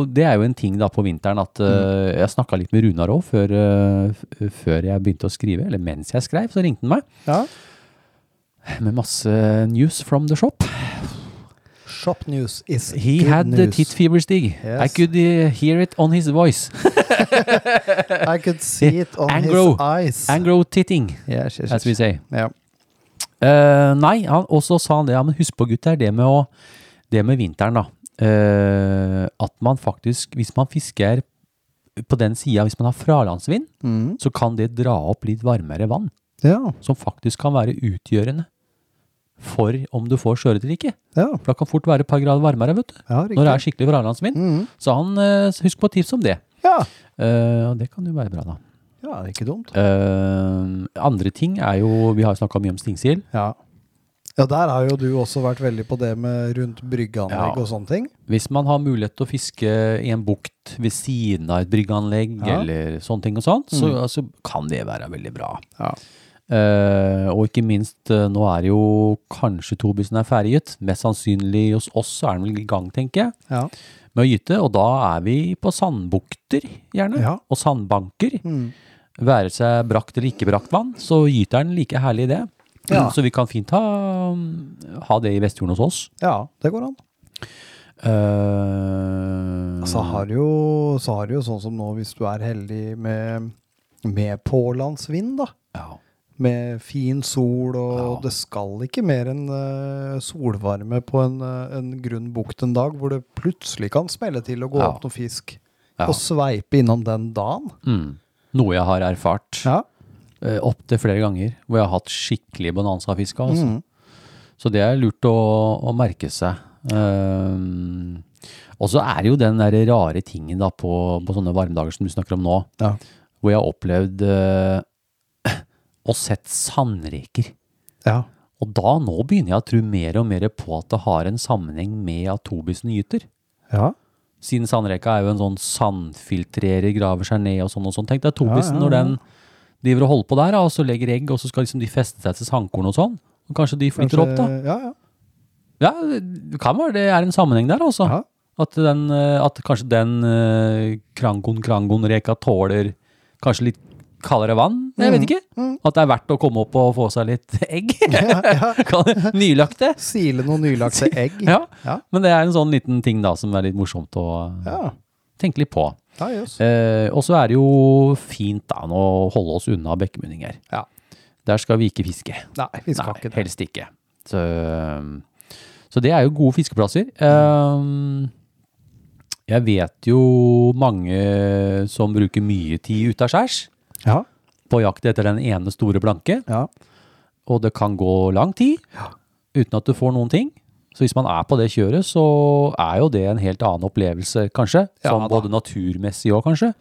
Speaker 2: det er jo en ting da på vinteren at
Speaker 5: Mm.
Speaker 2: eh, Jeg snakka litt med Runar òg før, eh, f- før jeg begynte å skrive. Eller mens jeg skrev, så ringte han meg
Speaker 5: Ja.
Speaker 2: med masse news from the shop.
Speaker 5: Shop news is
Speaker 2: He
Speaker 5: good
Speaker 2: had the
Speaker 5: news.
Speaker 2: tit fever, Stig. I
Speaker 5: Yes.
Speaker 2: could eh, hear it on his voice.
Speaker 5: I could see it on
Speaker 2: Angro.
Speaker 5: his eyes.
Speaker 2: Angro titting,
Speaker 5: Yes, yes,
Speaker 2: as we
Speaker 5: yes.
Speaker 2: say.
Speaker 5: Ja.
Speaker 2: Eh, nei, han, og så sa han det. Ja, men husk på, gutter, det med, å, det med vinteren, da. Eh, at man faktisk, hvis man fisker på den sida, hvis man har fralandsvind,
Speaker 5: Mm.
Speaker 2: så kan det dra opp litt varmere vann.
Speaker 5: ja.
Speaker 2: Som faktisk kan være utgjørende for om du får sjøørret eller ikke.
Speaker 5: Ja.
Speaker 2: For det kan fort være et par grader varmere vet du,
Speaker 5: Ja,
Speaker 2: når det
Speaker 5: riktig.
Speaker 2: er skikkelig fralandsvind.
Speaker 5: Mm.
Speaker 2: Så han, eh, husk på tips om det.
Speaker 5: Ja.
Speaker 2: Eh, og det kan jo være bra, da.
Speaker 5: ja, det er ikke dumt.
Speaker 2: Eh, andre ting er jo Vi har snakka mye om stingsild.
Speaker 5: Ja. ja, der har jo du også vært veldig på det med rundt
Speaker 2: Ja.
Speaker 5: bryggeanlegg og sånne ting.
Speaker 2: Hvis man har mulighet til å fiske i en bukt ved siden av et bryggeanlegg,
Speaker 5: Ja. Mm.
Speaker 2: eller sånne ting og sånn, så altså, kan det være veldig bra.
Speaker 5: Ja.
Speaker 2: Eh, og ikke minst, eh, nå er jo kanskje Tobisen er ferget. Mest sannsynlig hos oss så er den vel i gang, tenker jeg,
Speaker 5: Ja.
Speaker 2: med å gyte. Og da er vi på sandbukter, gjerne.
Speaker 5: Ja.
Speaker 2: Og sandbanker.
Speaker 5: Mm.
Speaker 2: Være seg brakt eller ikke brakt vann, så gyter den like herlig det.
Speaker 5: Ja.
Speaker 2: Så vi kan fint ha, ha det i Vestfjorden hos oss.
Speaker 5: ja, det går an.
Speaker 2: Eh,
Speaker 5: Så har du jo, så har du jo sånn som nå, hvis du er heldig med, med pålandsvind, da.
Speaker 2: ja.
Speaker 5: Med fin sol, og
Speaker 2: Ja.
Speaker 5: det skal ikke mer enn eh, solvarme på en, eh, en grunn bukt en dag, hvor det plutselig kan smelle til å gå
Speaker 2: Ja.
Speaker 5: opp noe fisk.
Speaker 2: Ja.
Speaker 5: Og sveipe innom den dagen.
Speaker 2: Mm. Noe jeg har erfart
Speaker 5: Ja.
Speaker 2: eh, opptil flere ganger, hvor jeg har hatt skikkelig bonanza-fiske. Altså.
Speaker 5: Mm.
Speaker 2: Så det er lurt å, å merke seg. Ehm, og så er det jo den der rare tingen da på, på sånne varmedager som du snakker om nå,
Speaker 5: Ja.
Speaker 2: hvor jeg har opplevd eh, og sett sandreker.
Speaker 5: ja.
Speaker 2: Og da nå begynner jeg å tro mer og mer på at det har en sammenheng med at tobisen gyter.
Speaker 5: Ja.
Speaker 2: Siden sandreka er jo en sånn sandfiltrerer, graver seg ned og sånn og sånn. Tenk deg tobisen når den driver og holder på der, da, og så legger egg, og så skal liksom de feste seg til sandkorn og sånn. Og kanskje de flytter opp, da.
Speaker 5: Kanskje- Ja, ja.
Speaker 2: Ja, det kan være det er en sammenheng der, altså.
Speaker 5: Ja.
Speaker 2: At, den, eh, at kanskje den eh, krangon-krangon-reka tåler kanskje litt kaldere vann? Jeg vet ikke. At det er verdt å komme opp og få seg litt egg? Kan- Nylagte?
Speaker 5: Sile noen nylagte egg.
Speaker 2: Ja.
Speaker 5: Ja.
Speaker 2: Men det er en sånn liten ting da som er litt morsomt å eh,
Speaker 5: Ja,
Speaker 2: tenke litt på.
Speaker 5: ja jøss.
Speaker 2: Eh, og så er det jo fint da nå å holde oss unna bekkemunninger.
Speaker 5: Ja.
Speaker 2: Der skal vi ikke fiske.
Speaker 5: Nei, vi skal
Speaker 2: Nei,
Speaker 5: ikke det.
Speaker 2: helst ikke. Så, um, så det er jo gode fiskeplasser. Um, jeg vet jo mange som bruker mye tid utaskjærs
Speaker 5: Ja,
Speaker 2: på jakt etter den ene store blanke,
Speaker 5: ja.
Speaker 2: og det kan gå lang tid uten at du får noen ting. Så hvis man er på det kjøret, så er jo det en helt annen opplevelse, kanskje.
Speaker 5: Ja,
Speaker 2: Som
Speaker 5: da.
Speaker 2: både naturmessig og kanskje.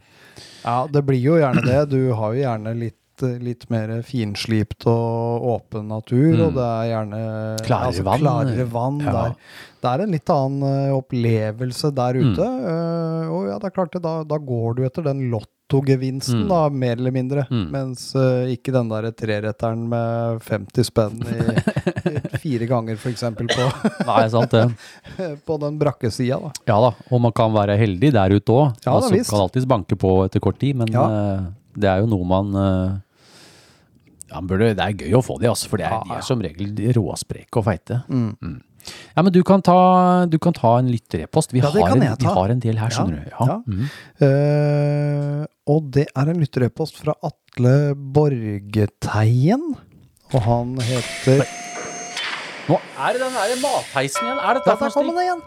Speaker 5: Ja, det blir jo gjerne det. Du har jo gjerne litt, litt mer finslipt og åpen natur, og det er gjerne
Speaker 2: Mm.
Speaker 5: altså,
Speaker 2: Klarere vann.
Speaker 5: Klarere vann
Speaker 2: Ja.
Speaker 5: der. Det er en litt annen eh, opplevelse der
Speaker 2: Mm.
Speaker 5: ute. eh, og ja, det er klart det, da, da går du etter den lottogevinsten,
Speaker 2: Mm.
Speaker 5: da, mer eller mindre.
Speaker 2: Mm.
Speaker 5: Mens eh, ikke den der treretteren med 50 spenn i, i fire ganger, f.eks., på,
Speaker 2: Nei, sant det.
Speaker 5: på den brakke sida, da.
Speaker 2: Ja da, og man kan være heldig der ute òg.
Speaker 5: Ja da,
Speaker 2: altså,
Speaker 5: visst.
Speaker 2: kan alltids banke på etter kort tid, men
Speaker 5: Ja.
Speaker 2: eh, det er jo noe man eh, ja, man burde, Det er gøy å få de, altså, for det er,
Speaker 5: Ja,
Speaker 2: de
Speaker 5: ja.
Speaker 2: er som regel råspreke og feite. Mm. Ja, men du kan ta, du kan ta en lytterepost. Vi,
Speaker 5: Ja, det
Speaker 2: har
Speaker 5: kan
Speaker 2: en,
Speaker 5: jeg
Speaker 2: vi
Speaker 5: ta.
Speaker 2: har en del her, skjønner du. Ja. Mm.
Speaker 5: ja. Mm. Eh, og det er en lytterepost fra Atle Borgeteien. Og han heter
Speaker 2: Nå er det den der matheisen igjen. Er
Speaker 5: Der, der kom den igjen!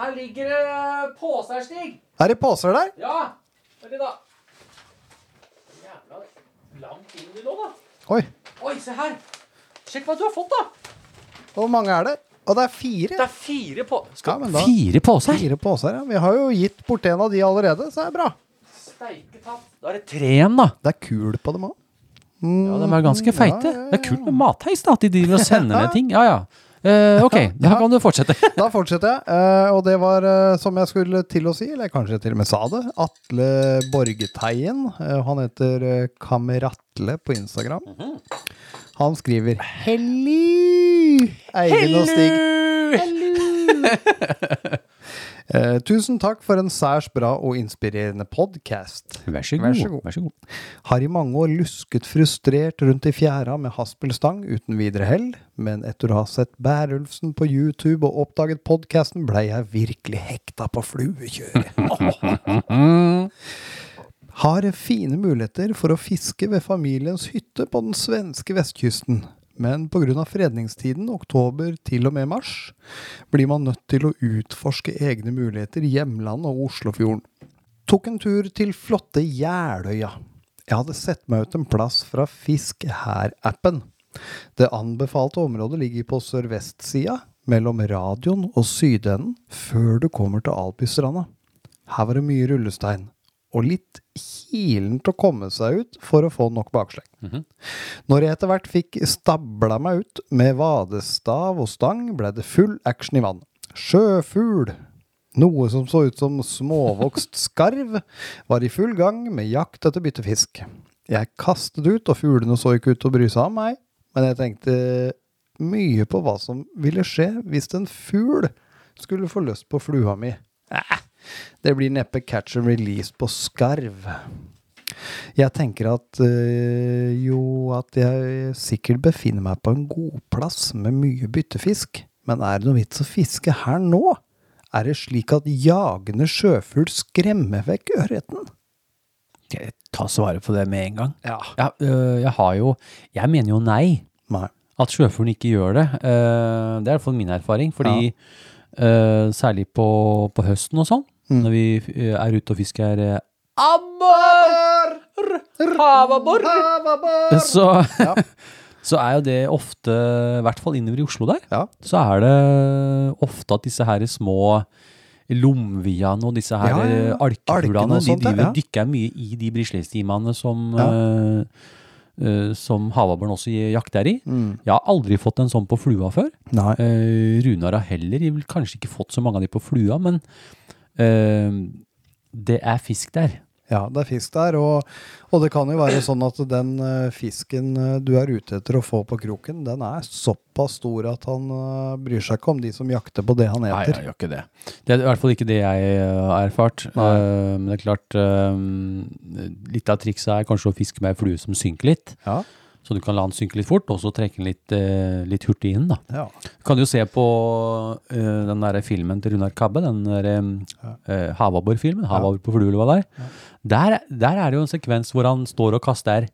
Speaker 2: Her ligger det poser, Stig.
Speaker 5: Er det poser der?
Speaker 2: Ja. Veldig, da. Jævla langt inn i nå, da.
Speaker 5: Oi.
Speaker 2: Oi, se her. Sjekk hva du har fått, da.
Speaker 5: Hvor mange er det? Og det er fire.
Speaker 2: er fire på...
Speaker 5: Ja, men da,
Speaker 2: Fire poser?
Speaker 5: fire poser, ja. Vi har jo gitt bort en av de allerede, så det er bra.
Speaker 2: Steiketatt. Da er det tre igjen, da.
Speaker 5: Det er kul på dem òg.
Speaker 2: Ja, De er ganske feite.
Speaker 5: Mm, ja, ja,
Speaker 2: Det er kult med matheis, da. At de driver og sender ned ting. Ja, ja. Eh, ok, da kan du fortsette.
Speaker 5: Da fortsetter jeg. eh, Og det var, eh, som jeg skulle til å si, eller kanskje jeg til og med sa det, Atle Borgeteien. Eh, Han heter eh, Kameratle på Instagram. Han skriver 'Hellu', Eivind og Stig. Hellu! Eh, tusen takk for en særs bra og inspirerende podkast.
Speaker 2: Vær så god.
Speaker 5: Vær så god. Har i mange år lusket frustrert rundt i fjæra med haspelstang uten videre hell, men etter å ha sett Bærulfsen på YouTube og oppdaget podkasten, blei jeg virkelig hekta på fluekjøret. Har fine muligheter for å fiske ved familiens hytte på den svenske vestkysten. Men pga. fredningstiden, oktober til og med mars, blir man nødt til å utforske egne muligheter i hjemlandet og Oslofjorden tok en tur til flotte Jeløya. Jeg hadde sett meg ut en plass fra Fisk her-appen. Det anbefalte området ligger på sørvestsida, mellom radioen og sydenden, før du kommer til Albystranda. Her var det mye rullestein, og litt kilent å komme seg ut for å få nok baksleng. Når jeg etter hvert fikk stabla meg ut med vadestav og stang, ble det full action i vann. Sjøfugl! Noe som så ut som småvokst skarv, var i full gang med jakt etter byttefisk. Jeg kastet ut, og fuglene så ikke ut til å bry seg om meg, men jeg tenkte mye på hva som ville skje hvis en fugl skulle få lyst på flua mi. Eh, Det blir neppe catch and release på skarv. Jeg tenker at øh, jo, at jeg sikkert befinner meg på en godplass med mye byttefisk. Men er det noe vits å fiske her nå? Er det slik at jagende sjøfugl skremmer vekk ørreten?
Speaker 2: Skal jeg ta svaret på det med en gang?
Speaker 5: Ja.
Speaker 2: Ja, øh, jeg har jo Jeg mener jo nei.
Speaker 5: Nei.
Speaker 2: At sjøfuglen ikke gjør det. øh, det er i hvert fall min erfaring. Fordi øh, særlig på, på høsten og sånn, når vi øh, er ute og fisker øh, abbor! Havabbor! Så, så er jo det ofte, i hvert fall innover i Oslo der,
Speaker 5: Ja.
Speaker 2: så er det ofte at disse her små lomviene og disse her
Speaker 5: Ja, ja, ja. Alkene
Speaker 2: alkefuglene,
Speaker 5: og
Speaker 2: de
Speaker 5: sånt, ja.
Speaker 2: driver, dykker mye i de brislestimene som,
Speaker 5: Ja.
Speaker 2: eh, eh, som havabboren også jakter i.
Speaker 5: Mm.
Speaker 2: Jeg har aldri fått en sånn på flua før.
Speaker 5: Nei.
Speaker 2: Eh, Runar har heller jeg vil kanskje ikke fått så mange av de på flua, men eh, det er fisk der.
Speaker 5: Ja, det er fisk der, og, og det kan jo være sånn at den eh, fisken eh, du er ute etter å få på kroken, den er såpass stor at han eh, bryr seg ikke om de som jakter på det han
Speaker 2: Nei,
Speaker 5: eter.
Speaker 2: jeg gjør ikke det. Det er i hvert fall ikke det jeg eh, har erfart. Eh, Men det er klart, eh, litt av trikset er kanskje å fiske med ei flue som synker litt.
Speaker 5: Ja,
Speaker 2: Så du kan la den synke litt fort, og så trekke den litt, eh, litt hurtig inn. da.
Speaker 5: ja.
Speaker 2: Du kan jo se på eh, den der filmen til Runar Kabbe, den der eh, Havabbor-filmen. Havabbor på flue, eller hva det er. Der, der er det jo en sekvens hvor han står og kaster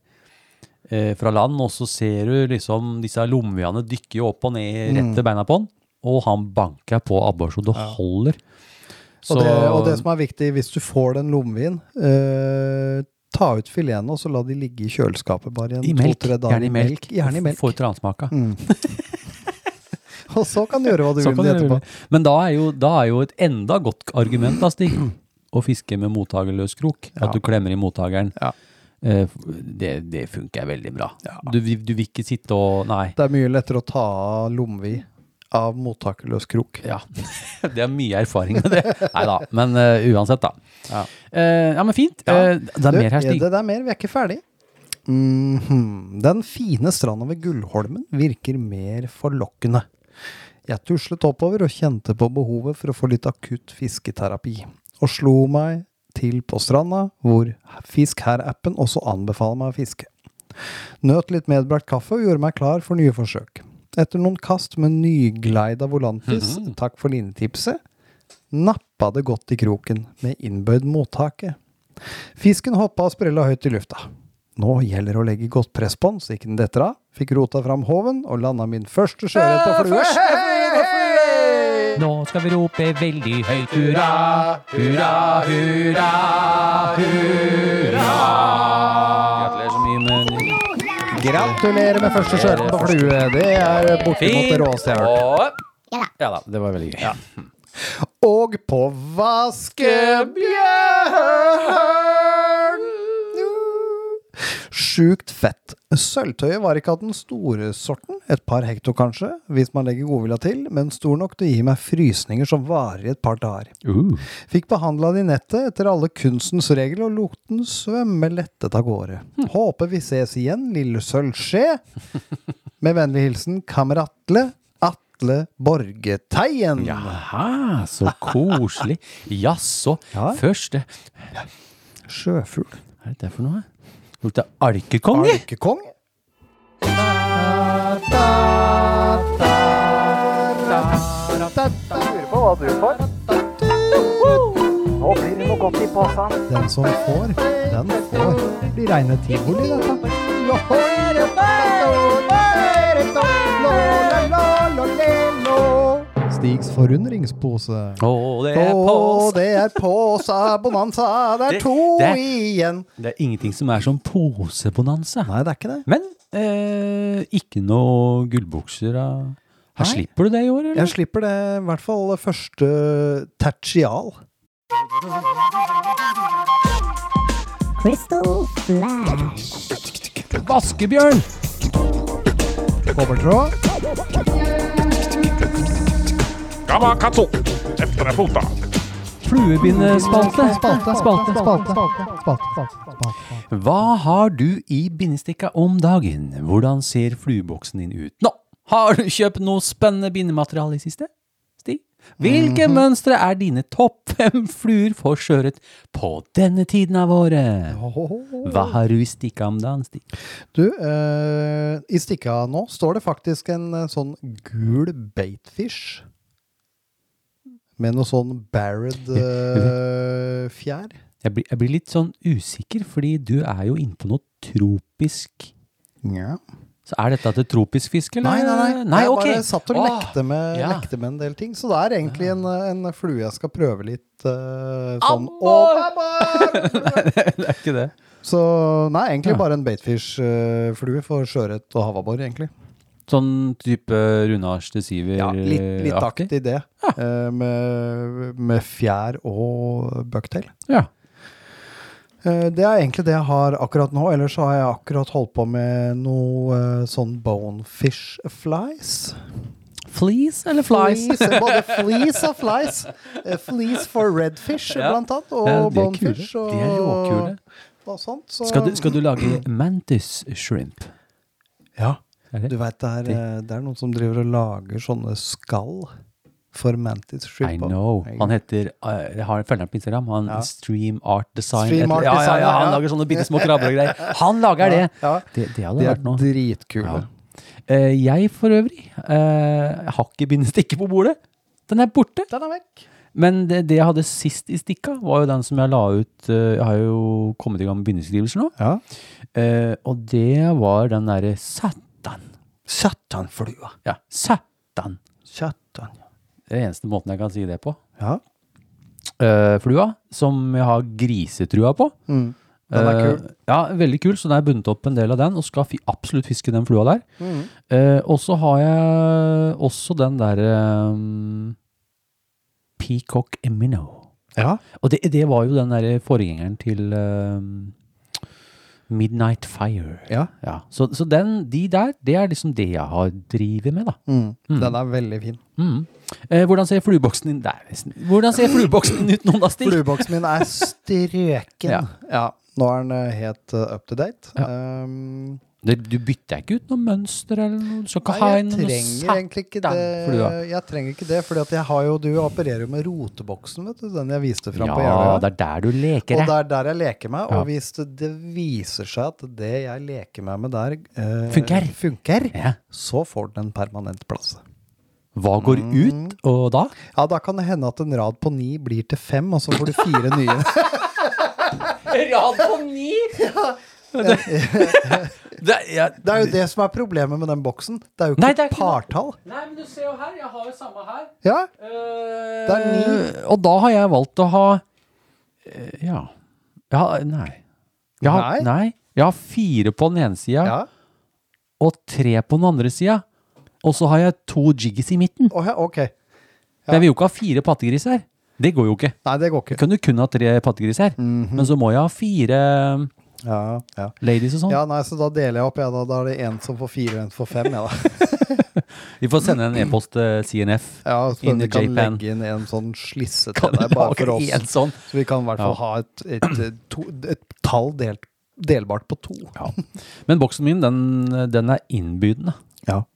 Speaker 2: eh, fra land, og så ser du liksom disse lomviene dykke jo opp og
Speaker 5: Mm.
Speaker 2: ned rett til beina på han, og han banker på abbor så det holder. Så,
Speaker 5: Og, det, og det som er viktig, hvis du får den lommevin, eh, ta ut fileten og så la de ligge i kjøleskapet bare
Speaker 2: i
Speaker 5: en
Speaker 2: melk,
Speaker 5: to-tre dager.
Speaker 2: gjerne i melk.
Speaker 5: Gjerne i melk. Mm.
Speaker 2: Får transmaka.
Speaker 5: Og så kan du gjøre hva du
Speaker 2: Så
Speaker 5: vil
Speaker 2: kan du
Speaker 5: med det etterpå.
Speaker 2: gjøre Sånn det. Men da er, jo, da er jo et enda godt argument, da, Stig, å fiske med mottagerløs krok. At du klemmer i mottakeren.
Speaker 5: Ja.
Speaker 2: Eh, Det, det funker veldig bra. Du, vil- du vil ikke sitte og Nei.
Speaker 5: Det er mye lettere å ta av lomvi av mottakerløs krok.
Speaker 2: Ja. Det er mye erfaring med det. Nei da. Men eh, uansett, da.
Speaker 5: Ja.
Speaker 2: Eh, ja, men fint. Eh, det er
Speaker 5: Du,
Speaker 2: mer her, Stig.
Speaker 5: Det, det er mer, vi er ikke ferdig. Mhm. Den fine stranda ved Gullholmen virker mer forlokkende. Jeg tuslet oppover og kjente på behovet for å få litt akutt fisketerapi, og slo meg til på stranda, hvor Fisk her-appen også anbefaler meg å fiske. Nøt litt medbrakt kaffe og gjorde meg klar for nye forsøk. Etter noen kast med nygleida volantis,
Speaker 2: Mhm.
Speaker 5: takk for linetipset, nappa det godt i kroken med innbøyd mottaket. Fisken hoppa og sprella høyt i lufta. Nå gjelder det å legge godt press på den, så ikke den detter av. Fikk rota fram håven og landa min første sjøørret på flue.
Speaker 1: Nå skal vi rope veldig høyt hurra, hurra, hurra.
Speaker 2: Gratulerer så mye med
Speaker 5: Gratulerer med første sjøørret på flue. Det er bortimot det råeste jeg har
Speaker 2: Ja
Speaker 5: hørt.
Speaker 2: da. ja da. Det var veldig gøy.
Speaker 5: Og på vaskebjørn! Sjukt fett. Sølvtøyet var ikke av den store sorten, et par hekto kanskje, hvis man legger godvilja til, men stor nok til å gi meg frysninger som varer i et par dager.
Speaker 1: Uh.
Speaker 5: Fikk behandla den i nettet etter alle kunstens regler og lot den svømme lettet av gårde. Håper vi ses igjen, lille sølvskje. Med vennlig hilsen Kameratle Atle Borgeteien.
Speaker 2: Jaha, så koselig. Jaså.
Speaker 5: Ja.
Speaker 2: Først det
Speaker 5: Sjøfugl.
Speaker 2: Hva er dette for noe? Lukter alkekonge?
Speaker 5: Alkekong.
Speaker 3: Nå blir det noe godt i posen.
Speaker 5: Den som får, den får. Det blir reine tivoli, dette. Stigs forundringspose.
Speaker 2: Å, det er
Speaker 5: Å,
Speaker 2: pås.
Speaker 5: det er påsa bonanza. Det er
Speaker 2: Det-
Speaker 5: to
Speaker 2: det-
Speaker 5: igjen.
Speaker 2: Det er ingenting som er som posebonanza.
Speaker 5: Nei, det er ikke det.
Speaker 2: Men eh, ikke noe gullbukser av Her
Speaker 5: Nei.
Speaker 2: slipper du det i år, eller?
Speaker 5: Jeg slipper det, i hvert fall første tertial.
Speaker 6: Crystal Flash.
Speaker 2: Vaskebjørn!
Speaker 5: Kobbertråd.
Speaker 4: Gamakatsu! Efter deg fota.
Speaker 2: Fluebindespalte.
Speaker 5: Spalte, spalte, spalte. spalte, spalte.
Speaker 2: Hva har du i bindestikka om dagen? Hvordan ser flueboksen din ut nå? Har du kjøpt noe spennende bindemateriale i siste? Stig? Hvilke
Speaker 5: Mhm.
Speaker 2: mønstre er dine topp fem fluer forskjøret på denne tiden av året? Hva har du i stikka om dagen, Stig?
Speaker 5: Du, eh, i stikka nå står det faktisk en eh, sånn gul baitfish. Med noe sånn barred eh, fjær.
Speaker 2: Jeg blir, jeg blir litt sånn usikker, fordi du er jo inne på noe tropisk.
Speaker 5: Ja.
Speaker 2: Så er dette til tropisk fisk, eller?
Speaker 5: Nei, nei, nei.
Speaker 2: nei
Speaker 5: jeg
Speaker 2: ok.
Speaker 5: bare satt og
Speaker 2: Åh,
Speaker 5: lekte, med,
Speaker 2: ja.
Speaker 5: lekte med en del ting. Så det er egentlig en, en flue jeg skal prøve litt eh, sånn
Speaker 2: Abbor!
Speaker 5: Abbor!
Speaker 2: Det er ikke det.
Speaker 5: Så nei, egentlig
Speaker 2: Ja.
Speaker 5: bare en baitfish-flue for sjøørret og havabbor, egentlig.
Speaker 2: Sånn type Runars til Siver?
Speaker 5: Ja, litt, litt
Speaker 2: eh,
Speaker 5: aktig det. eh, med, med fjær og bucktail.
Speaker 2: Ja.
Speaker 5: Eh, det er egentlig det jeg har akkurat nå. Ellers så har jeg akkurat holdt på med noe eh, sånn bonefish flies.
Speaker 2: Fleece eller flies?
Speaker 5: Fleece, eh, både fleece og flies. Eh, Fleece for redfish,
Speaker 2: Ja.
Speaker 5: blant annet. Og
Speaker 2: Ja, de er kule.
Speaker 5: bonefish. Og,
Speaker 2: De er råkule.
Speaker 5: og sånt. Så,
Speaker 2: Skal du, skal du lage mantis shrimp?
Speaker 5: Ja.
Speaker 2: Er det?
Speaker 5: Du veit det, er, eh, det er noen som driver og lager sånne skall for Mantis
Speaker 2: I
Speaker 5: Shrimp.
Speaker 2: know. Han heter eh, Jeg har følgeren på Instagram. Han
Speaker 5: Ja.
Speaker 2: Stream Art Design.
Speaker 5: Stream
Speaker 2: et-
Speaker 5: Art
Speaker 2: ja, ja,
Speaker 5: Design,
Speaker 2: ja,
Speaker 5: ja,
Speaker 2: han
Speaker 5: ja.
Speaker 2: lager sånne bitte små krabbegreier. Han lager
Speaker 5: Ja,
Speaker 2: det!
Speaker 5: ja.
Speaker 2: Det, det hadde
Speaker 5: De er
Speaker 2: vært noe.
Speaker 5: dritkule.
Speaker 2: Ja. Eh, jeg for øvrig eh, har ikke bindestikke på bordet. Den er borte.
Speaker 5: Den er vekk.
Speaker 2: Men det, det jeg hadde sist i stikka, var jo den som jeg la ut eh, Jeg har jo kommet i gang med bindeskrivelser nå.
Speaker 5: Ja.
Speaker 2: Eh, og det var den derre satan. Satanflua. Ja. Satan.
Speaker 5: Kjøttan.
Speaker 2: Det er eneste måten jeg kan si det på.
Speaker 5: Ja.
Speaker 2: Eh, flua, som jeg har grisetrua på.
Speaker 5: Mm. Den er
Speaker 2: Eh,
Speaker 5: kul.
Speaker 2: ja, veldig kul, så den er bundet opp en del av den, og skal fi, absolutt fiske den flua der.
Speaker 5: Mm.
Speaker 2: Eh, og så har jeg også den derre um, Peacock Emino.
Speaker 5: Ja.
Speaker 2: Og det, det var jo den der forgjengeren til ehm, Midnight Fire.
Speaker 5: Ja.
Speaker 2: Så, så den, de der, det er liksom det jeg har drivet med, da.
Speaker 5: Mm. Den er veldig fin.
Speaker 2: Mm. Eh, hvordan ser flueboksen din der, nesten. Hvordan ser flueboksen din ut nå, da, Stig?
Speaker 5: Flueboksen min er strøken.
Speaker 2: Ja.
Speaker 5: ja. Nå er den eh, helt eh, up to date. Um,
Speaker 2: Det, du bytter ikke ut noe mønster eller noe? Du skal ikke
Speaker 5: nei,
Speaker 2: ha
Speaker 5: jeg
Speaker 2: en
Speaker 5: trenger
Speaker 2: noe
Speaker 5: egentlig ikke det.
Speaker 2: satanflua?
Speaker 5: Jeg trenger ikke det, fordi at jeg har jo, du opererer jo med roteboksen, vet du. Den jeg viste fram på
Speaker 2: Ja,
Speaker 5: Jeløya.
Speaker 2: det er der du leker,
Speaker 5: Og det
Speaker 2: det.
Speaker 5: er der jeg leker meg.
Speaker 2: Ja.
Speaker 5: Og hvis det, det viser seg at det jeg leker meg med der, eh,
Speaker 2: Funker.
Speaker 5: funker,
Speaker 2: Ja.
Speaker 5: så får den en permanent plass.
Speaker 2: Hva går
Speaker 5: Mm,
Speaker 2: ut, og da?
Speaker 5: Ja, da kan det hende at en rad på ni blir til fem, og så får du fire nye.
Speaker 2: Rad på ni! det, jeg,
Speaker 5: Det er jo det som er problemet med den boksen. Det er jo ikke,
Speaker 2: Nei, det er ikke noe-
Speaker 5: partall.
Speaker 2: nei, men du ser jo her. Jeg har jo samme her. Eh,
Speaker 5: Ja,
Speaker 2: Det
Speaker 5: Det er ni.
Speaker 2: Og da har jeg valgt å ha eh, Ja. ja nei. Jeg har,
Speaker 5: Nei?
Speaker 2: nei. Jeg har fire på den ene sida
Speaker 5: ja.
Speaker 2: og tre på den andre sida. Og så har jeg to jiggies i midten.
Speaker 5: Å, ja, ok.
Speaker 2: Men Jeg vil jo ikke ha fire pattegris her. Det går jo ikke.
Speaker 5: Nei, det går
Speaker 2: Jeg
Speaker 5: ikke. Mhm.
Speaker 2: kan jo kun ha tre pattegris her. Men så må jeg ha fire um,
Speaker 5: Ja, ja.
Speaker 2: Ladies og sånn.
Speaker 5: ja, nei, så da deler jeg opp, jeg da. Da er det en som får fire, og en får fem, jeg da.
Speaker 2: Vi får sende en e-post eh, til CNF.
Speaker 5: Ja, så
Speaker 2: Inn i
Speaker 5: vi kan
Speaker 2: J-Pan.
Speaker 5: legge inn en sånn slisse
Speaker 2: Kan
Speaker 5: til
Speaker 2: du
Speaker 5: deg, bare
Speaker 2: lage
Speaker 5: for
Speaker 2: en
Speaker 5: oss.
Speaker 2: sånn?
Speaker 5: Så vi kan i hvert fall
Speaker 2: Ja.
Speaker 5: ha et, et, eh, to, et tall delt, delbart på to.
Speaker 2: Ja. Men boksen min, den, den er innbydende.
Speaker 5: Ja.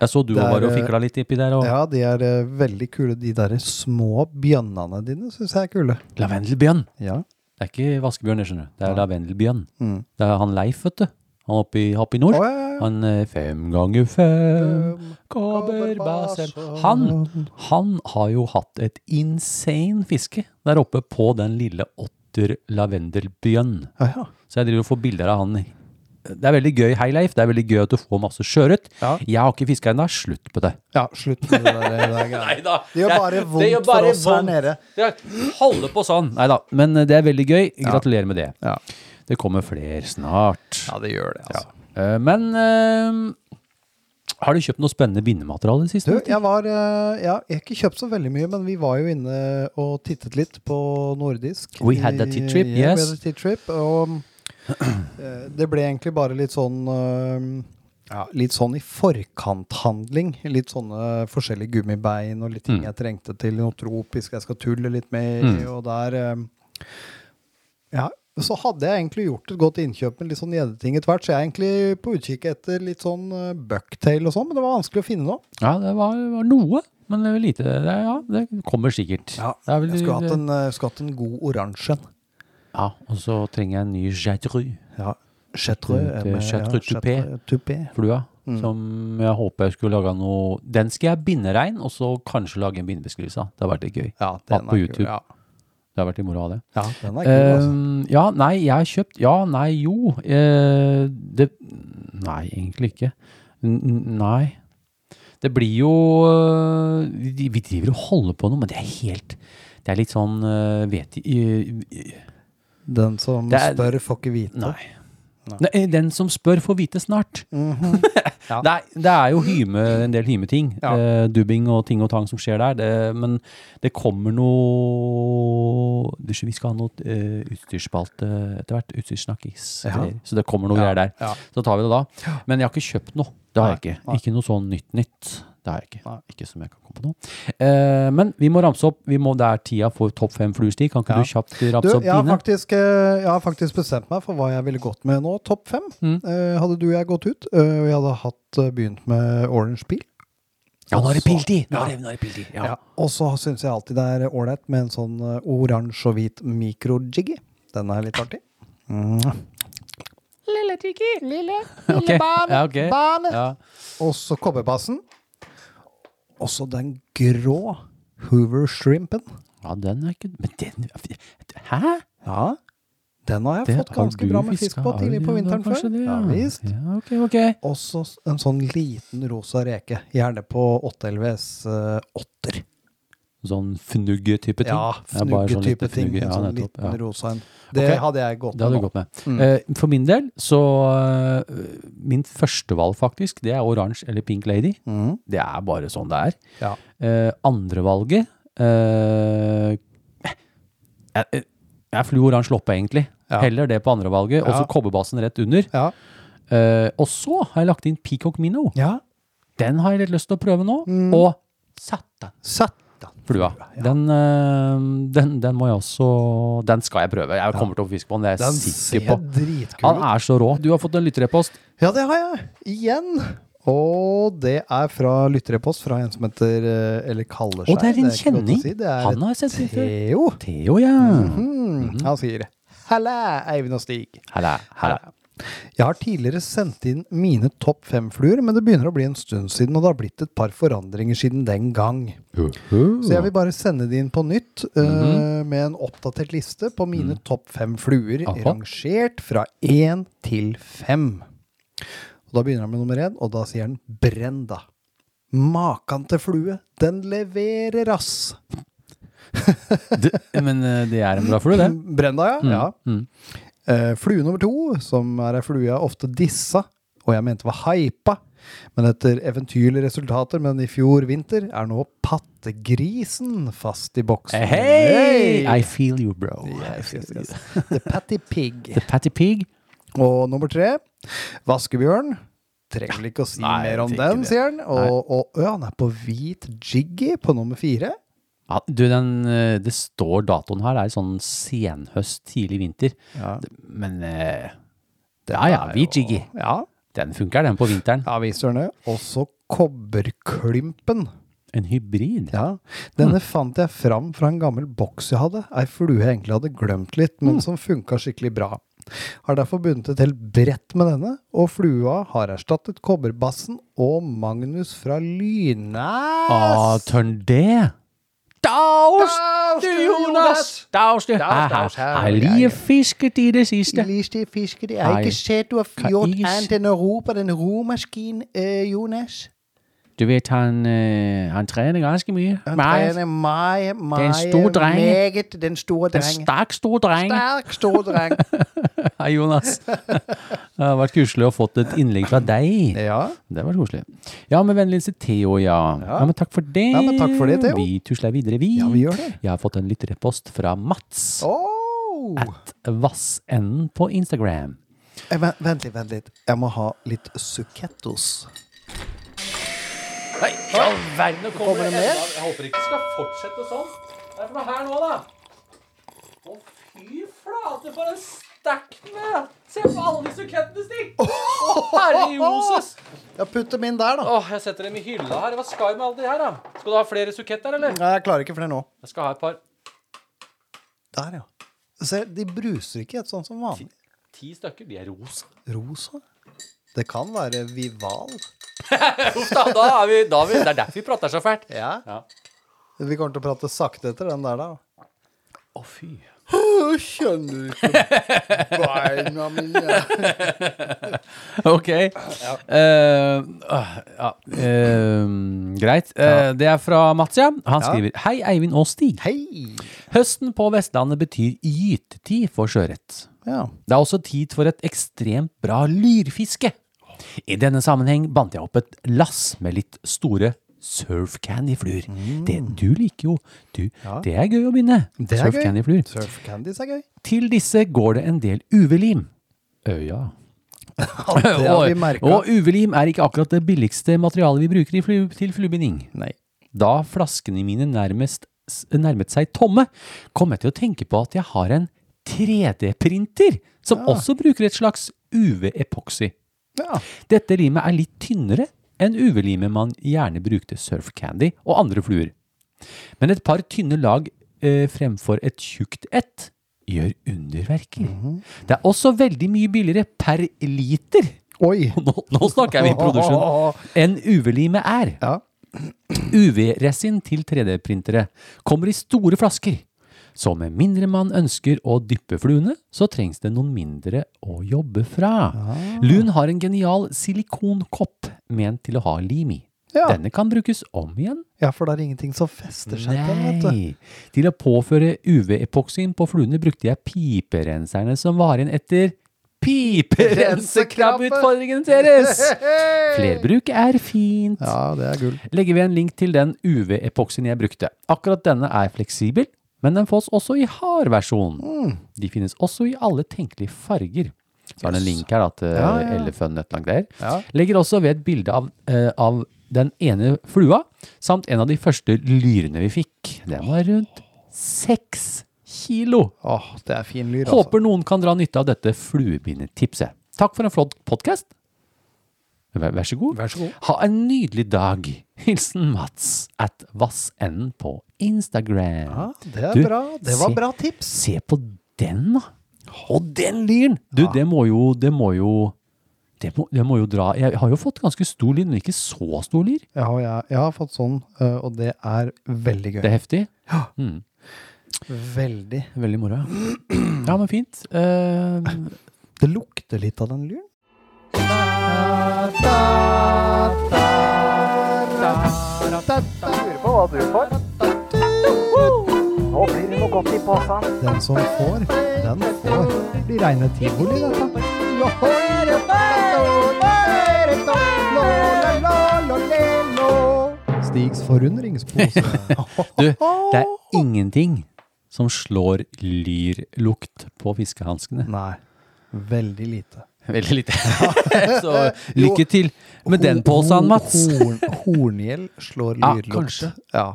Speaker 2: Jeg så du
Speaker 5: Det er,
Speaker 2: var og
Speaker 5: eh,
Speaker 2: fikla litt oppi der. Og
Speaker 5: Ja, de er eh, veldig kule. De derre små bjønnene dine syns jeg er kule.
Speaker 2: Lavendelbjørn.
Speaker 5: Ja.
Speaker 2: Det er ikke vaskebjørn, det skjønner du. Det er lavendelbjørn.
Speaker 5: Mm.
Speaker 2: Det er han Leif, vet du. Han oppe i, oppe i nord.
Speaker 5: Å, ja, ja, ja.
Speaker 2: Han eh, fem ganger fem kobberbasem. Han, han har jo hatt et insane fiske der oppe på den lille otter lavendelbjørn.
Speaker 5: Ja, ja.
Speaker 2: Så jeg driver og får bilder av han. Det er veldig gøy, hei Leif. Det er veldig gøy at du får masse sjøørret.
Speaker 5: Ja.
Speaker 2: Jeg har ikke fiska ennå. Slutt på det.
Speaker 5: Ja, slutt med det der. Det, der greia.
Speaker 2: da.
Speaker 5: det gjør bare vondt for oss her nede.
Speaker 2: Holde på sånn. Nei da. Men det er veldig gøy. Gratulerer med det.
Speaker 5: Ja.
Speaker 2: Det kommer flere snart.
Speaker 5: det gjør det, altså.
Speaker 2: Eh, Men eh, har du kjøpt noe spennende bindemateriale i det
Speaker 5: Du,
Speaker 2: siste?
Speaker 5: jeg var eh, ja, Jeg har ikke kjøpt så veldig mye, men vi var jo inne og tittet litt på nordisk.
Speaker 2: We had a tit trip,
Speaker 5: I- yeah,
Speaker 2: yes.
Speaker 5: We had a tit trip, og eh, det ble egentlig bare litt sånn eh, ja, Litt sånn i forkanthandling. Litt sånne forskjellige gummibein og
Speaker 2: Mm.
Speaker 5: litt ting jeg trengte til. Noe tropisk jeg skal tulle litt med, i, og der eh, Ja, så hadde jeg egentlig gjort et godt innkjøp med litt sånn gjeddeting etter hvert, så jeg er egentlig på utkikk etter litt sånn eh, bucktail og sånn, men det var vanskelig å finne noe.
Speaker 2: Ja, det var, var noe. Men det er lite det, er- Ja, det kommer sikkert. Det er vel-
Speaker 5: jeg skulle hatt en, eh, skulle hatt en god oransje en.
Speaker 2: Ja, Og så trenger jeg en ny jaitru.
Speaker 5: Ja. Chatreux.
Speaker 2: Et, eh, Chartreux toupé.
Speaker 5: tupé.
Speaker 2: flua.
Speaker 5: Mm.
Speaker 2: Som jeg håper jeg skulle lage noe Den skal jeg binde rein, og så kanskje lage en bindebeskrivelse av. Det har vært litt gøy.
Speaker 5: Ja,
Speaker 2: Hatt på
Speaker 5: den er kul.
Speaker 2: YouTube.
Speaker 5: Ja.
Speaker 2: Det har vært litt moro å ha det.
Speaker 5: ja, den er kul, altså.
Speaker 2: Um, ja, nei, jeg har kjøpt Ja, nei, jo. eh, det Nei, egentlig ikke. N n- nei. Det blir jo eh, Vi vi driver og holder på noe, men det er helt Det er litt sånn eh, Vet i- i-
Speaker 5: Den som
Speaker 2: det er-
Speaker 5: spør, får ikke vite.
Speaker 2: Nei. Nei, Den som spør, får vite snart.
Speaker 5: Mhm.
Speaker 2: det, er, det er jo hyme, en del hymeting. Eh, dubbing og ting og tang som skjer der. Det, men det kommer noe det- Vi skal ha noe eh, utstyrsspalte etter hvert. Utstyrssnakkis.
Speaker 5: Ja.
Speaker 2: Så det kommer noe greier der.
Speaker 5: ja.
Speaker 2: Så tar vi det da. Men jeg har ikke kjøpt noe. Det har jeg
Speaker 5: Nei,
Speaker 2: ikke.
Speaker 5: nei.
Speaker 2: Ikke noe sånn nytt nytt. Det har jeg ikke.
Speaker 5: Nei.
Speaker 2: Ikke som jeg kan komme på nå. Eh, men vi må ramse opp. Vi må, det er tida for topp fem fluestig. Kan ikke du
Speaker 5: Ja.
Speaker 2: kjapt ramse
Speaker 5: Du,
Speaker 2: opp
Speaker 5: jeg har,
Speaker 2: dine?
Speaker 5: faktisk, eh, jeg har faktisk bestemt meg for hva jeg ville gått med nå. Topp fem.
Speaker 2: Mm.
Speaker 5: Eh, hadde du og jeg gått ut, eh, og jeg hadde hatt, eh, begynt med Orange Peel.
Speaker 2: Ja, nå er det
Speaker 5: Så-
Speaker 2: piltid! Nå er det- nå er det piltid. Ja.
Speaker 5: Ja. Og så syns jeg alltid det er ålreit med en sånn eh, oransje og hvit mikrojiggy. Den er litt artig.
Speaker 6: Lille Tiki, lille, lille
Speaker 2: Ok,
Speaker 6: barn,
Speaker 2: ja, ok.
Speaker 6: barn.
Speaker 2: Ja.
Speaker 5: Og så kobberbassen. Og så den grå Hoover Shrimpen.
Speaker 2: Ja, den er ikke Men den Hæ?
Speaker 5: Ja. Den har jeg
Speaker 2: Det
Speaker 5: fått ganske
Speaker 2: du
Speaker 5: bra med
Speaker 2: fisket.
Speaker 5: fisk på
Speaker 2: Har
Speaker 5: tidlig
Speaker 2: du
Speaker 5: på
Speaker 2: det?
Speaker 5: vinteren før.
Speaker 2: Kanskje det,
Speaker 5: Ja, visst.
Speaker 2: Ja, ok, ok.
Speaker 5: Og så s- en sånn liten rosa reke. Gjerne på 8LVs eh, åtter.
Speaker 2: Sånn fnugge-type ting.
Speaker 5: Ja,
Speaker 2: Det er bare sånn
Speaker 5: fnugge-type
Speaker 2: lite
Speaker 5: ting.
Speaker 2: fnugge,
Speaker 5: En
Speaker 2: Ja,
Speaker 5: sånn
Speaker 2: nettopp.
Speaker 5: liten
Speaker 2: Ja.
Speaker 5: rosa en. Det
Speaker 2: Ok.
Speaker 5: hadde jeg gått
Speaker 2: Det hadde du
Speaker 5: nå.
Speaker 2: gått med. Eh, for min del, så eh, Min førstevalg, faktisk, det er oransje eller Pink Lady.
Speaker 5: Mhm.
Speaker 2: Det er bare sånn det er.
Speaker 5: Ja.
Speaker 2: Eh, Andrevalget eh, jeg- jeg- Jeg er flu oransje loppe, egentlig.
Speaker 5: Ja.
Speaker 2: Heller det på andrevalget. Og så
Speaker 5: Ja.
Speaker 2: kobberbassen rett under.
Speaker 5: Ja.
Speaker 2: Eh, og så har jeg lagt inn Peacock Minnow.
Speaker 5: ja. Mm.
Speaker 2: Den har jeg litt lyst til å prøve nå. Og satan,
Speaker 5: Satan.
Speaker 2: flua. Den, eh, den, den må jeg også Den skal jeg prøve. Jeg kommer til å fiske på den, det er
Speaker 5: Den
Speaker 2: jeg
Speaker 5: ser
Speaker 2: sikker på.
Speaker 5: dritkul
Speaker 2: Han
Speaker 5: ut.
Speaker 2: er så rå. Du har fått en lytterepost.
Speaker 5: Ja, det har jeg. Igjen. Og det er fra lytterepost fra en som heter eh, Eller kaller seg
Speaker 2: Og det er en
Speaker 5: ikke godt å
Speaker 2: kjenning.
Speaker 5: Si. Det er
Speaker 2: Han har jeg sett litt før. Mhm.
Speaker 5: Theo.
Speaker 2: Theo, ja.
Speaker 5: Mm, Han sier Halla, Eivind og Stig.
Speaker 2: Halla, halla.
Speaker 5: Jeg har tidligere sendt inn mine topp fem fluer, men det begynner å bli en stund siden, og det har blitt et par forandringer siden den gang. Så jeg vil bare sende de inn på nytt eh, med en oppdatert liste på mine topp fem fluer,
Speaker 2: Aha.
Speaker 5: rangert fra én til fem. Og da begynner han med nummer én, og da sier han Brenda. Makan til flue, den leverer, ass!
Speaker 2: Det, men eh, det er en bra flue,
Speaker 5: Mhm.
Speaker 2: det.
Speaker 5: Mm,
Speaker 2: Mm,
Speaker 5: Brenda, ja. ja. Eh, flue nummer to, som er ei flue jeg ofte dissa, og jeg mente var hypa, men etter eventyrlige resultater, men i fjor vinter, er nå pattegrisen fast i boksen.
Speaker 2: Eh, Hei!
Speaker 5: Hey!
Speaker 2: I feel you, bro.
Speaker 5: Yes, yes, yes. The patty pig.
Speaker 2: The Patty Pig
Speaker 5: Og nummer tre, vaskebjørn. Trenger vel ikke å si
Speaker 2: Nei, jeg
Speaker 5: mer om
Speaker 2: tenker
Speaker 5: den,
Speaker 2: det.
Speaker 5: sier han. Og, og ja, han er på hvit jiggy på nummer fire.
Speaker 2: Ja, du, den, eh, det står datoen her, det er sånn senhøst, tidlig vinter. Det- Men eh, ja, ja, vi jiggy.
Speaker 5: Ja,
Speaker 2: Den funker, den, på vinteren.
Speaker 5: ja vi sørne. Også kobberklympen.
Speaker 2: En hybrid.
Speaker 5: Ja, Denne fant jeg fram fra en gammel boks jeg hadde. Ei flue jeg egentlig hadde glemt litt, men som funka skikkelig bra. Har derfor bundet et helt brett med denne, og flua har erstattet kobberbassen og Magnus fra Lynæs.
Speaker 2: Ah, tørn det! Daus, du Jonas! Daus, du!
Speaker 5: Daus, daus,
Speaker 2: Jeg
Speaker 5: her,
Speaker 2: har
Speaker 5: ja, ja.
Speaker 2: lige fisket i det siste.
Speaker 5: Liste fisker, jeg
Speaker 2: har
Speaker 5: har
Speaker 2: ikke
Speaker 5: ikke sett du har
Speaker 2: Kan gjort
Speaker 5: gjort
Speaker 2: ikke s- annet
Speaker 5: annet enn å rope den romaskin, eh, Jonas.
Speaker 2: Du vet, han, eh, han trener ganske mye.
Speaker 5: Han
Speaker 2: Meget.
Speaker 5: trener meg,
Speaker 2: Den store drenge.
Speaker 5: meget, den store
Speaker 2: Den
Speaker 5: drenge.
Speaker 2: sterk, stor dreng.
Speaker 5: Sterk, stor dreng.
Speaker 2: Hei, Jonas. Det har vært koselig å fått et innlegg fra deg.
Speaker 5: ja.
Speaker 2: Det var koselig. Ja, med vennlig hilsen Theo, ja. ja. men takk for det.
Speaker 5: Ja, men takk for det, Theo.
Speaker 2: Vi tusler videre, vi.
Speaker 5: Ja, vi gjør det.
Speaker 2: Jeg har fått en lytterpost fra Mats.
Speaker 5: Oh.
Speaker 2: At Vassenden på Instagram.
Speaker 5: Eh, Vent, vent litt, vent litt. Jeg må ha litt sukkettos.
Speaker 2: Nå kommer det mer. Jeg håper ikke det skal fortsette sånn. Det er for noe her nå, da. Å, fy flate, for en stakk med. Se på alle de sukettene, Stig. Å, herre Joses.
Speaker 5: Jeg putter min der, da.
Speaker 2: Åh, jeg setter dem i hylla her. Hva skal jeg med alle de her, da? Skal du ha flere suketter, eller?
Speaker 5: Nei, jeg klarer ikke flere nå.
Speaker 2: Jeg skal ha et par
Speaker 5: Der, ja. Se, de bruser ikke helt sånn som vanlig.
Speaker 2: ti stykker. De er rosa.
Speaker 5: Rosa. Det kan være Vival.
Speaker 2: Uff da, da er vi, da er vi, det er derfor vi prater så fælt. Å,
Speaker 5: Ja.
Speaker 2: Ja.
Speaker 5: Vi kommer til å prate sakte etter den der, da.
Speaker 2: fy.
Speaker 5: Skjønner du ikke beina mine?
Speaker 2: Ok. Eh, øh, ja. eh, greit. Eh, det er fra Mats, ja. Han skriver Hei, Eivind og Stig.
Speaker 5: Hei.
Speaker 2: Høsten på Vestlandet betyr gytetid for sjøørret.
Speaker 5: Ja.
Speaker 2: Det er også tid for et ekstremt bra lyrfiske. I denne sammenheng bandt jeg opp et lass med litt store surf candy-fluer. Det du liker jo. Du, Det er gøy å binde.
Speaker 5: Mm. Det er
Speaker 2: Surf
Speaker 5: gøy.
Speaker 2: candy-fluer.
Speaker 5: Surf candies er gøy.
Speaker 2: Til disse går det en del UV-lim. Øya.
Speaker 5: Det har vi merka.
Speaker 2: Og UV-lim er ikke akkurat det billigste materialet vi bruker i flu, til fluebinding.
Speaker 5: Nei.
Speaker 2: Da flaskene mine nærmest s- nærmet seg tomme, kom jeg til å tenke på at jeg har en 3D-printer som også bruker et slags UV-epoxy.
Speaker 5: Ja.
Speaker 2: Dette limet er litt tynnere enn UV-limet man gjerne brukte surf candy og andre fluer. Men et par tynne lag eh, fremfor et tjukt ett gjør underverker. Det er også veldig mye billigere per liter.
Speaker 5: Oi.
Speaker 2: Nå, nå snakker vi produksjon. Enn UV-limet er.
Speaker 5: Ja.
Speaker 2: UV-resin til 3D-printere kommer i store flasker. Så med mindre man ønsker å dyppe fluene, så trengs det noen mindre å jobbe fra.
Speaker 5: Ah.
Speaker 2: Lun har en genial silikonkopp ment til å ha lim i.
Speaker 5: Ja.
Speaker 2: Denne kan brukes om igjen.
Speaker 5: ja, for det er ingenting som fester seg på, vet du.
Speaker 2: Nei! Til å påføre UV-epoksyen på fluene brukte jeg piperenserne som var igjen etter piperensekrabbeutfordringen deres! Flerbruk er fint.
Speaker 5: Ja, det er gull.
Speaker 2: legger vi en link til den UV-epoksen jeg brukte. Akkurat denne er fleksibel, men den fås også i hard versjon. De finnes også i alle tenkelige farger. Så er det en link her da, til Elefønn et eller annet greier.
Speaker 5: Ja.
Speaker 2: Legger også ved et bilde av, eh, av den ene flua, samt en av de første lyrene vi fikk. Den var rundt seks kilo.
Speaker 5: Åh, det er fin lyd, altså.
Speaker 2: Håper noen kan dra nytte av dette fluebindetipset. Takk for en flott podkast. Vær, vær så god.
Speaker 5: Vær så god.
Speaker 2: Ha en nydelig dag. Hilsen Mats at Vassenden på Instagram.
Speaker 5: Ja, det er
Speaker 2: Du,
Speaker 5: bra. Det var
Speaker 2: se-
Speaker 5: bra tips.
Speaker 2: Se på den, da. Og den lyren! Du, det må jo Det må jo det må, det må jo dra Jeg har jo fått ganske stor lyr, men ikke så stor lyr.
Speaker 5: Ja, og jeg, jeg har fått sånn, øh, og det er veldig gøy.
Speaker 2: Det er heftig.
Speaker 5: Veldig.
Speaker 2: Veldig moro. ja. Ja, men fint. Eh,
Speaker 5: Det lukter litt av den lyren. Den som får, den får. Det blir reine tivoli, dette. Stigs forundringspose.
Speaker 2: Du, det er ingenting som slår lyrlukt på fiskehanskene.
Speaker 5: Nei. Veldig lite.
Speaker 2: Veldig lite. Så lykke til med den påsen, Mats.
Speaker 5: Ho- Horn, horngjell slår
Speaker 2: Ja,
Speaker 5: lydlukt.
Speaker 2: kanskje.
Speaker 5: Ja,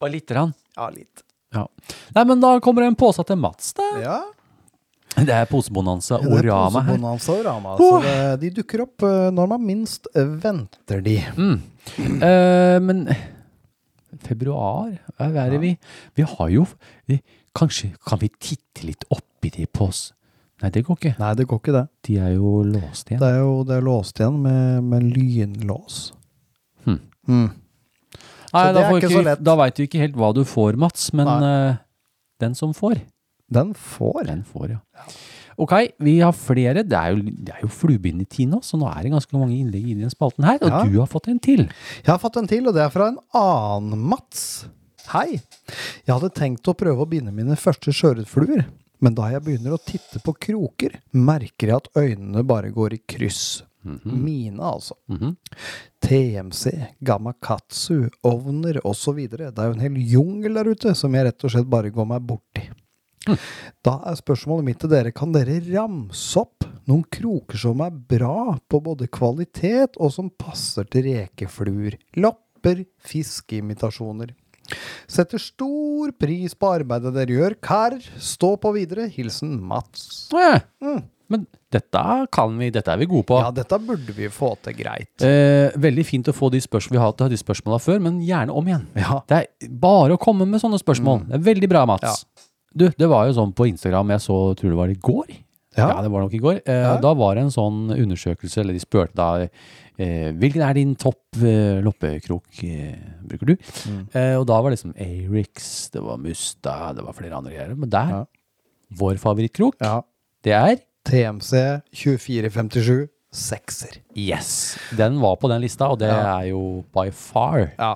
Speaker 2: Bare lite grann.
Speaker 5: ja litt.
Speaker 2: Ja. Nei, men da kommer det en påse til Mats, da.
Speaker 5: Ja,
Speaker 2: Det er posebonanza
Speaker 5: det er
Speaker 2: Orama her.
Speaker 5: posebonanza og Rama. Så det, de dukker opp eh, når man minst venter de.
Speaker 2: Eh, men februar, hva er det vi? Vi har jo vi, Kanskje kan vi titte litt oppi de på oss? Nei, det går ikke.
Speaker 5: Nei, det går ikke det.
Speaker 2: De er jo låst igjen.
Speaker 5: Det er jo det er låst igjen med, med lynlås.
Speaker 2: Hmm.
Speaker 5: Mm.
Speaker 2: Nei,
Speaker 5: så det
Speaker 2: da,
Speaker 5: er
Speaker 2: får
Speaker 5: ikke
Speaker 2: ikke,
Speaker 5: så lett.
Speaker 2: da veit du ikke helt hva du får, Mats, men eh, den som får,
Speaker 5: Den får.
Speaker 2: den får, ja. Ok, vi har flere. Det er jo, det er jo fluebindetid nå, så nå er det ganske mange innlegg i den spalten her. Og
Speaker 5: Ja.
Speaker 2: du har fått en til.
Speaker 5: Jeg har fått en til, og det er fra en annen Mats. Hei! Jeg hadde tenkt å prøve å binde mine første sjøørretfluer, men da jeg begynner å titte på kroker, merker jeg at øynene bare går i kryss. Mine, altså. TMC, Gamakatsu, ovner osv. Det er jo en hel jungel der ute som jeg rett og slett bare går meg borti. Da er spørsmålet mitt til dere, kan dere ramse opp noen kroker som er bra på både kvalitet og som passer til rekefluer, lopper, fiskeimitasjoner? Setter stor pris på arbeidet dere gjør, kar. Stå på videre. Hilsen Mats.
Speaker 2: Å, ja. Men dette kan vi, dette er vi gode på.
Speaker 5: Mm. Ja, dette burde vi få til greit.
Speaker 2: Eh, veldig fint å få de spørsmål vi har hatt de spørsmåla før, men gjerne om igjen. Det er bare å komme med sånne spørsmål.
Speaker 5: Mm.
Speaker 2: Det er veldig bra, Mats. Du, det var jo sånn på Instagram jeg så, tror det var i går. Ja,
Speaker 5: Ja.
Speaker 2: det var nok i går. Eh, Da var det en sånn undersøkelse, eller de spurte da eh, Hvilken er din topp eh, loppekrok eh, bruker du?
Speaker 5: Mm.
Speaker 2: Eh, og da var det liksom Arix, det var Musta, det var flere andre greier. Men der,
Speaker 5: Ja.
Speaker 2: vår favorittkrok,
Speaker 5: Ja.
Speaker 2: det er
Speaker 5: TMC 2457 sekser.
Speaker 2: Yes! Den var på den lista, og det
Speaker 5: Ja.
Speaker 2: er jo by far.
Speaker 5: Ja.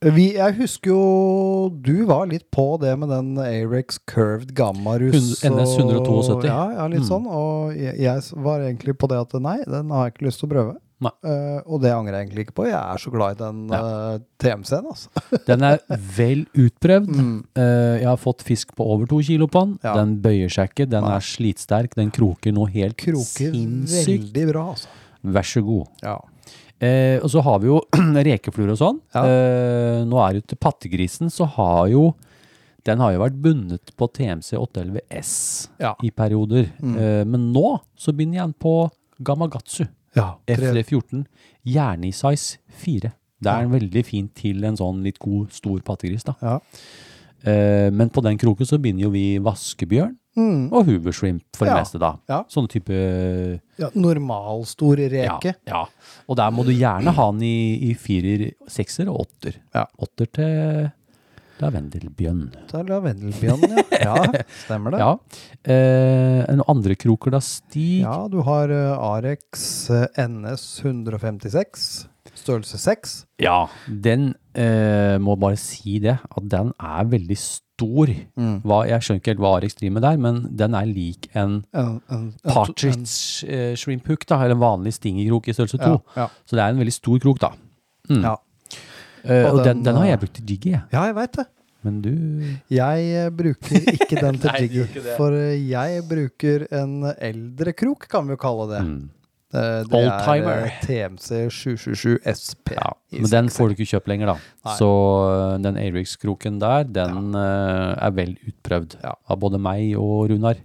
Speaker 5: Vi, jeg husker jo du var litt på det med den Arex Curved Gammarus.
Speaker 2: Hun- NS 172.
Speaker 5: og- Ja, ja
Speaker 2: Mm.
Speaker 5: litt sånn. Og jeg, jeg var egentlig på det at nei, den har jeg ikke lyst til å prøve.
Speaker 2: Nei.
Speaker 5: Eh, og det angrer jeg egentlig ikke på. Jeg er så glad i den eh, TMC-en, altså.
Speaker 2: Den er vel utprøvd. Eh, jeg har fått fisk på over to kilo på den.
Speaker 5: Mm. Ja.
Speaker 2: Den bøyer seg ikke, den er slitsterk, den kroker nå helt
Speaker 5: Kroker
Speaker 2: sinnssykt.
Speaker 5: veldig bra, altså.
Speaker 2: Vær så god.
Speaker 5: Ja.
Speaker 2: Eh, og så har vi jo rekefluer og sånn.
Speaker 5: Ja.
Speaker 2: Eh, nå er det til pattegrisen, så har jo den har jo vært bundet på TMC 811 S
Speaker 5: Ja. Mm.
Speaker 2: i perioder. Eh, men nå så begynner jeg den på Gamagatsu.
Speaker 5: ja tre,
Speaker 2: FD14, gjerne i size 4. Det er en veldig fin til en sånn litt god, stor pattegris. da.
Speaker 5: ja.
Speaker 2: Eh, men på den kroken så binder jo vi vaskebjørn
Speaker 5: Mm,
Speaker 2: og hoovershrimp for det
Speaker 5: Ja,
Speaker 2: meste, da.
Speaker 5: ja.
Speaker 2: Sånne type eh,
Speaker 5: ja. Normalstor
Speaker 2: ja,
Speaker 5: reke.
Speaker 2: ja. Og der må du gjerne ha den i, i firer, sekser og åtter.
Speaker 5: Ja.
Speaker 2: Åtter til lavendelbjørn.
Speaker 5: Det er lavendelbjørn, ja. ja. Stemmer det.
Speaker 2: Ja. Eh, noen andre kroker da, Stig?
Speaker 5: Ja, du har eh, Arex eh, NS 156, størrelse 6.
Speaker 2: Ja, den eh, må bare si det, at den er veldig stor.
Speaker 5: Mm.
Speaker 2: Hva, jeg skjønner ikke helt hva Arex driver med der, men den er lik en
Speaker 5: En, en, en-
Speaker 2: partridge eh, shrimp hook, da, eller en vanlig stingerkrok i størrelse
Speaker 5: Ja,
Speaker 2: to.
Speaker 5: ja.
Speaker 2: Så det er en veldig stor krok, da. Mm.
Speaker 5: en- Ja.
Speaker 2: Eh,
Speaker 5: Og
Speaker 2: og den,
Speaker 5: den,
Speaker 2: den har
Speaker 5: eh,
Speaker 2: jeg brukt til jiggy, jeg.
Speaker 5: ja, jeg veit det.
Speaker 2: Men du
Speaker 5: Jeg eh, bruker ikke den til jiggy, for eh, jeg bruker en eldre krok, kan vi jo kalle det. Eh, Det
Speaker 2: Mm. Oldtimer.
Speaker 5: er eh, TMC 777 SP.
Speaker 2: ja,
Speaker 5: i
Speaker 2: Men den
Speaker 5: sekser.
Speaker 2: får du ikke kjøpt lenger, da.
Speaker 5: Nei.
Speaker 2: Så eh, den Arix-kroken der, den eh, er vel utprøvd
Speaker 5: Ja. Mm.
Speaker 2: av både meg og Runar.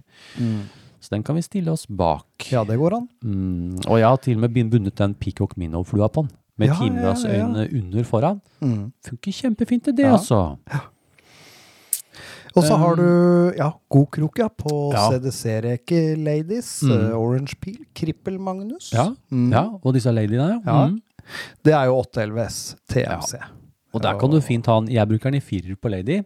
Speaker 2: Så den kan vi stille oss bak.
Speaker 5: Ja, det går an.
Speaker 2: Mm, og jeg har til og med bin- bundet den Peacock Minnow-flua på den. Med
Speaker 5: Ja,
Speaker 2: ja, timeglassøynene under foran.
Speaker 5: Mm.
Speaker 2: Funker kjempefint til det,
Speaker 5: Ja.
Speaker 2: altså.
Speaker 5: Og så har du ja, god krok ja, på
Speaker 2: Um, Ja. Mm.
Speaker 5: CDC-reke Ladies. eh, Orange Peel. Krippel Magnus.
Speaker 2: Ja,
Speaker 5: Mm.
Speaker 2: ja og disse ladyene. Ja.
Speaker 5: Ja.
Speaker 2: Mm.
Speaker 5: Det er jo 811S TMC.
Speaker 2: Og der kan du fint ha den. Jeg bruker den i firer på Lady.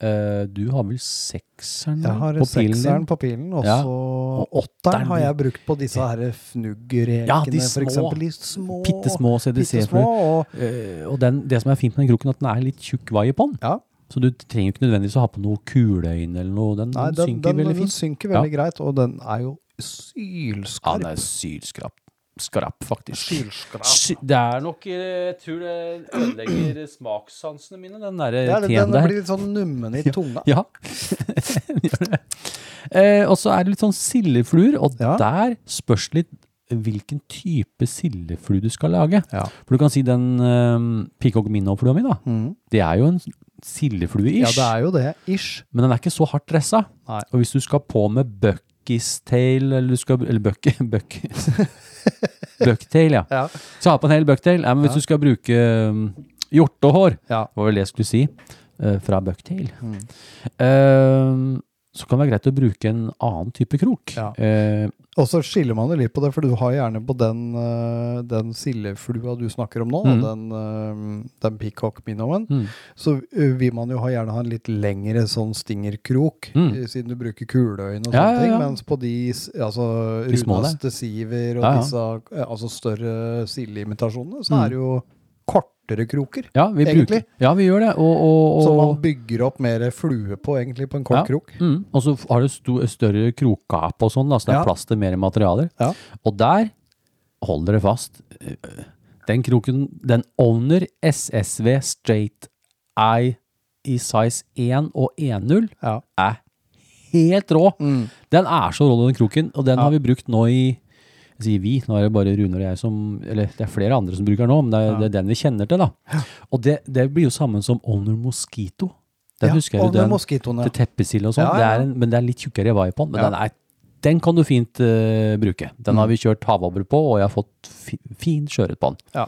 Speaker 2: Eh, du har vel sekseren
Speaker 5: Mm. Jeg har
Speaker 2: på pilen
Speaker 5: sekseren
Speaker 2: din?
Speaker 5: på pilen, og
Speaker 2: Ja.
Speaker 5: så
Speaker 2: Og åtteren.
Speaker 5: åtteren har jeg brukt på disse her fnuggerekene,
Speaker 2: Ja, de
Speaker 5: for
Speaker 2: små.
Speaker 5: eksempel. De små.
Speaker 2: Pittesmå
Speaker 5: Pittesmå,
Speaker 2: CDC-fluer.
Speaker 5: og
Speaker 2: Eh, og den, det som er fint med den kroken, er at den er litt tjukk vai på den.
Speaker 5: ja,
Speaker 2: Så du trenger jo ikke nødvendigvis å ha på noe kuleøyne eller noe. Den,
Speaker 5: nei, den,
Speaker 2: synker
Speaker 5: den,
Speaker 2: veldig
Speaker 5: den
Speaker 2: fint.
Speaker 5: synker
Speaker 2: Ja.
Speaker 5: veldig greit, og den er jo
Speaker 2: Ja,
Speaker 5: sylskarp.
Speaker 2: den er sylskrapp. Skarp, faktisk.
Speaker 5: Sylskarp.
Speaker 2: Sy- Det er nok eh, Jeg tror det ødelegger smakssansene mine, den
Speaker 5: Det
Speaker 2: derre
Speaker 5: er,
Speaker 2: teen
Speaker 5: den
Speaker 2: der.
Speaker 5: blir litt sånn nummen i tunga.
Speaker 2: Ja. Gjør det. Eh, og så er det litt sånn sildefluer, og
Speaker 5: Ja.
Speaker 2: der spørs det litt hvilken type sildeflue du skal lage.
Speaker 5: Ja.
Speaker 2: For du kan si den eh, pikogmino-flua mi, da.
Speaker 5: Mm.
Speaker 2: Det er jo en sildeflue-ish,
Speaker 5: Ja, det er jo det. Ish.
Speaker 2: men den er ikke så hardt dressa.
Speaker 5: Nei.
Speaker 2: Og hvis du skal på med bucky's tail, eller du skal Eller buck... buck bucktail, ja.
Speaker 5: Ja.
Speaker 2: Så ha på en hel bucktail. Nei, men hvis du skal bruke um, hjortehår,
Speaker 5: Ja. Mm.
Speaker 2: var vel det jeg skulle si, eh, fra bucktail, eh, så kan det være greit å bruke en annen type krok.
Speaker 5: Ja.
Speaker 2: Eh,
Speaker 5: Og så skiller man jo litt på det, for du har gjerne på den, eh, den sildeflua du snakker om nå,
Speaker 2: Mm.
Speaker 5: den, eh, den peacock-minoen,
Speaker 2: Mm.
Speaker 5: så eh, vil man jo ha, gjerne ha en litt lengre sånn stingerkrok,
Speaker 2: Mm.
Speaker 5: eh, siden du bruker kuleøyne og
Speaker 2: Ja,
Speaker 5: sånne
Speaker 2: ja,
Speaker 5: ting,
Speaker 2: ja.
Speaker 5: mens på de, s- altså,
Speaker 2: De små der.
Speaker 5: rundaste siver og
Speaker 2: Ja, ja.
Speaker 5: disse eh, altså større sildeimitasjonene, så
Speaker 2: Mm.
Speaker 5: er det jo kortere kroker.
Speaker 2: ja, vi
Speaker 5: Egentlig.
Speaker 2: bruker, ja, vi gjør det. Og, og,
Speaker 5: Som man
Speaker 2: og,
Speaker 5: bygger opp mer flue på, egentlig, på en kort
Speaker 2: Ja.
Speaker 5: krok.
Speaker 2: mm, og så har du sto, større krokgap og sånn, da, så det er
Speaker 5: Ja.
Speaker 2: plass til mer materialer.
Speaker 5: Ja.
Speaker 2: Og der holder det fast. øh, Den kroken, den owner SSV straight eye i size 1 og 1.0
Speaker 5: Ja.
Speaker 2: er helt rå.
Speaker 5: Mm.
Speaker 2: Den er så rå, den kroken, og den har vi brukt nå i jeg sier vi, nå er det bare Rune og jeg som Eller det er flere andre som bruker den nå, men det er, det er den vi kjenner til, da. Og det, det blir jo sammen som Owner Mosquito. Den
Speaker 5: Ja,
Speaker 2: husker jeg jo,
Speaker 5: og med
Speaker 2: den
Speaker 5: moskitoene.
Speaker 2: til teppesild og sånn.
Speaker 5: Ja, ja,
Speaker 2: Det
Speaker 5: ja.
Speaker 2: er en- Men det er litt tjukkere vibe på den. Men
Speaker 5: Ja. Mm.
Speaker 2: den, er, den kan du fint eh, bruke. Den har vi kjørt havabber på, og jeg har fått fi, fin skjøret på den.
Speaker 5: Ja.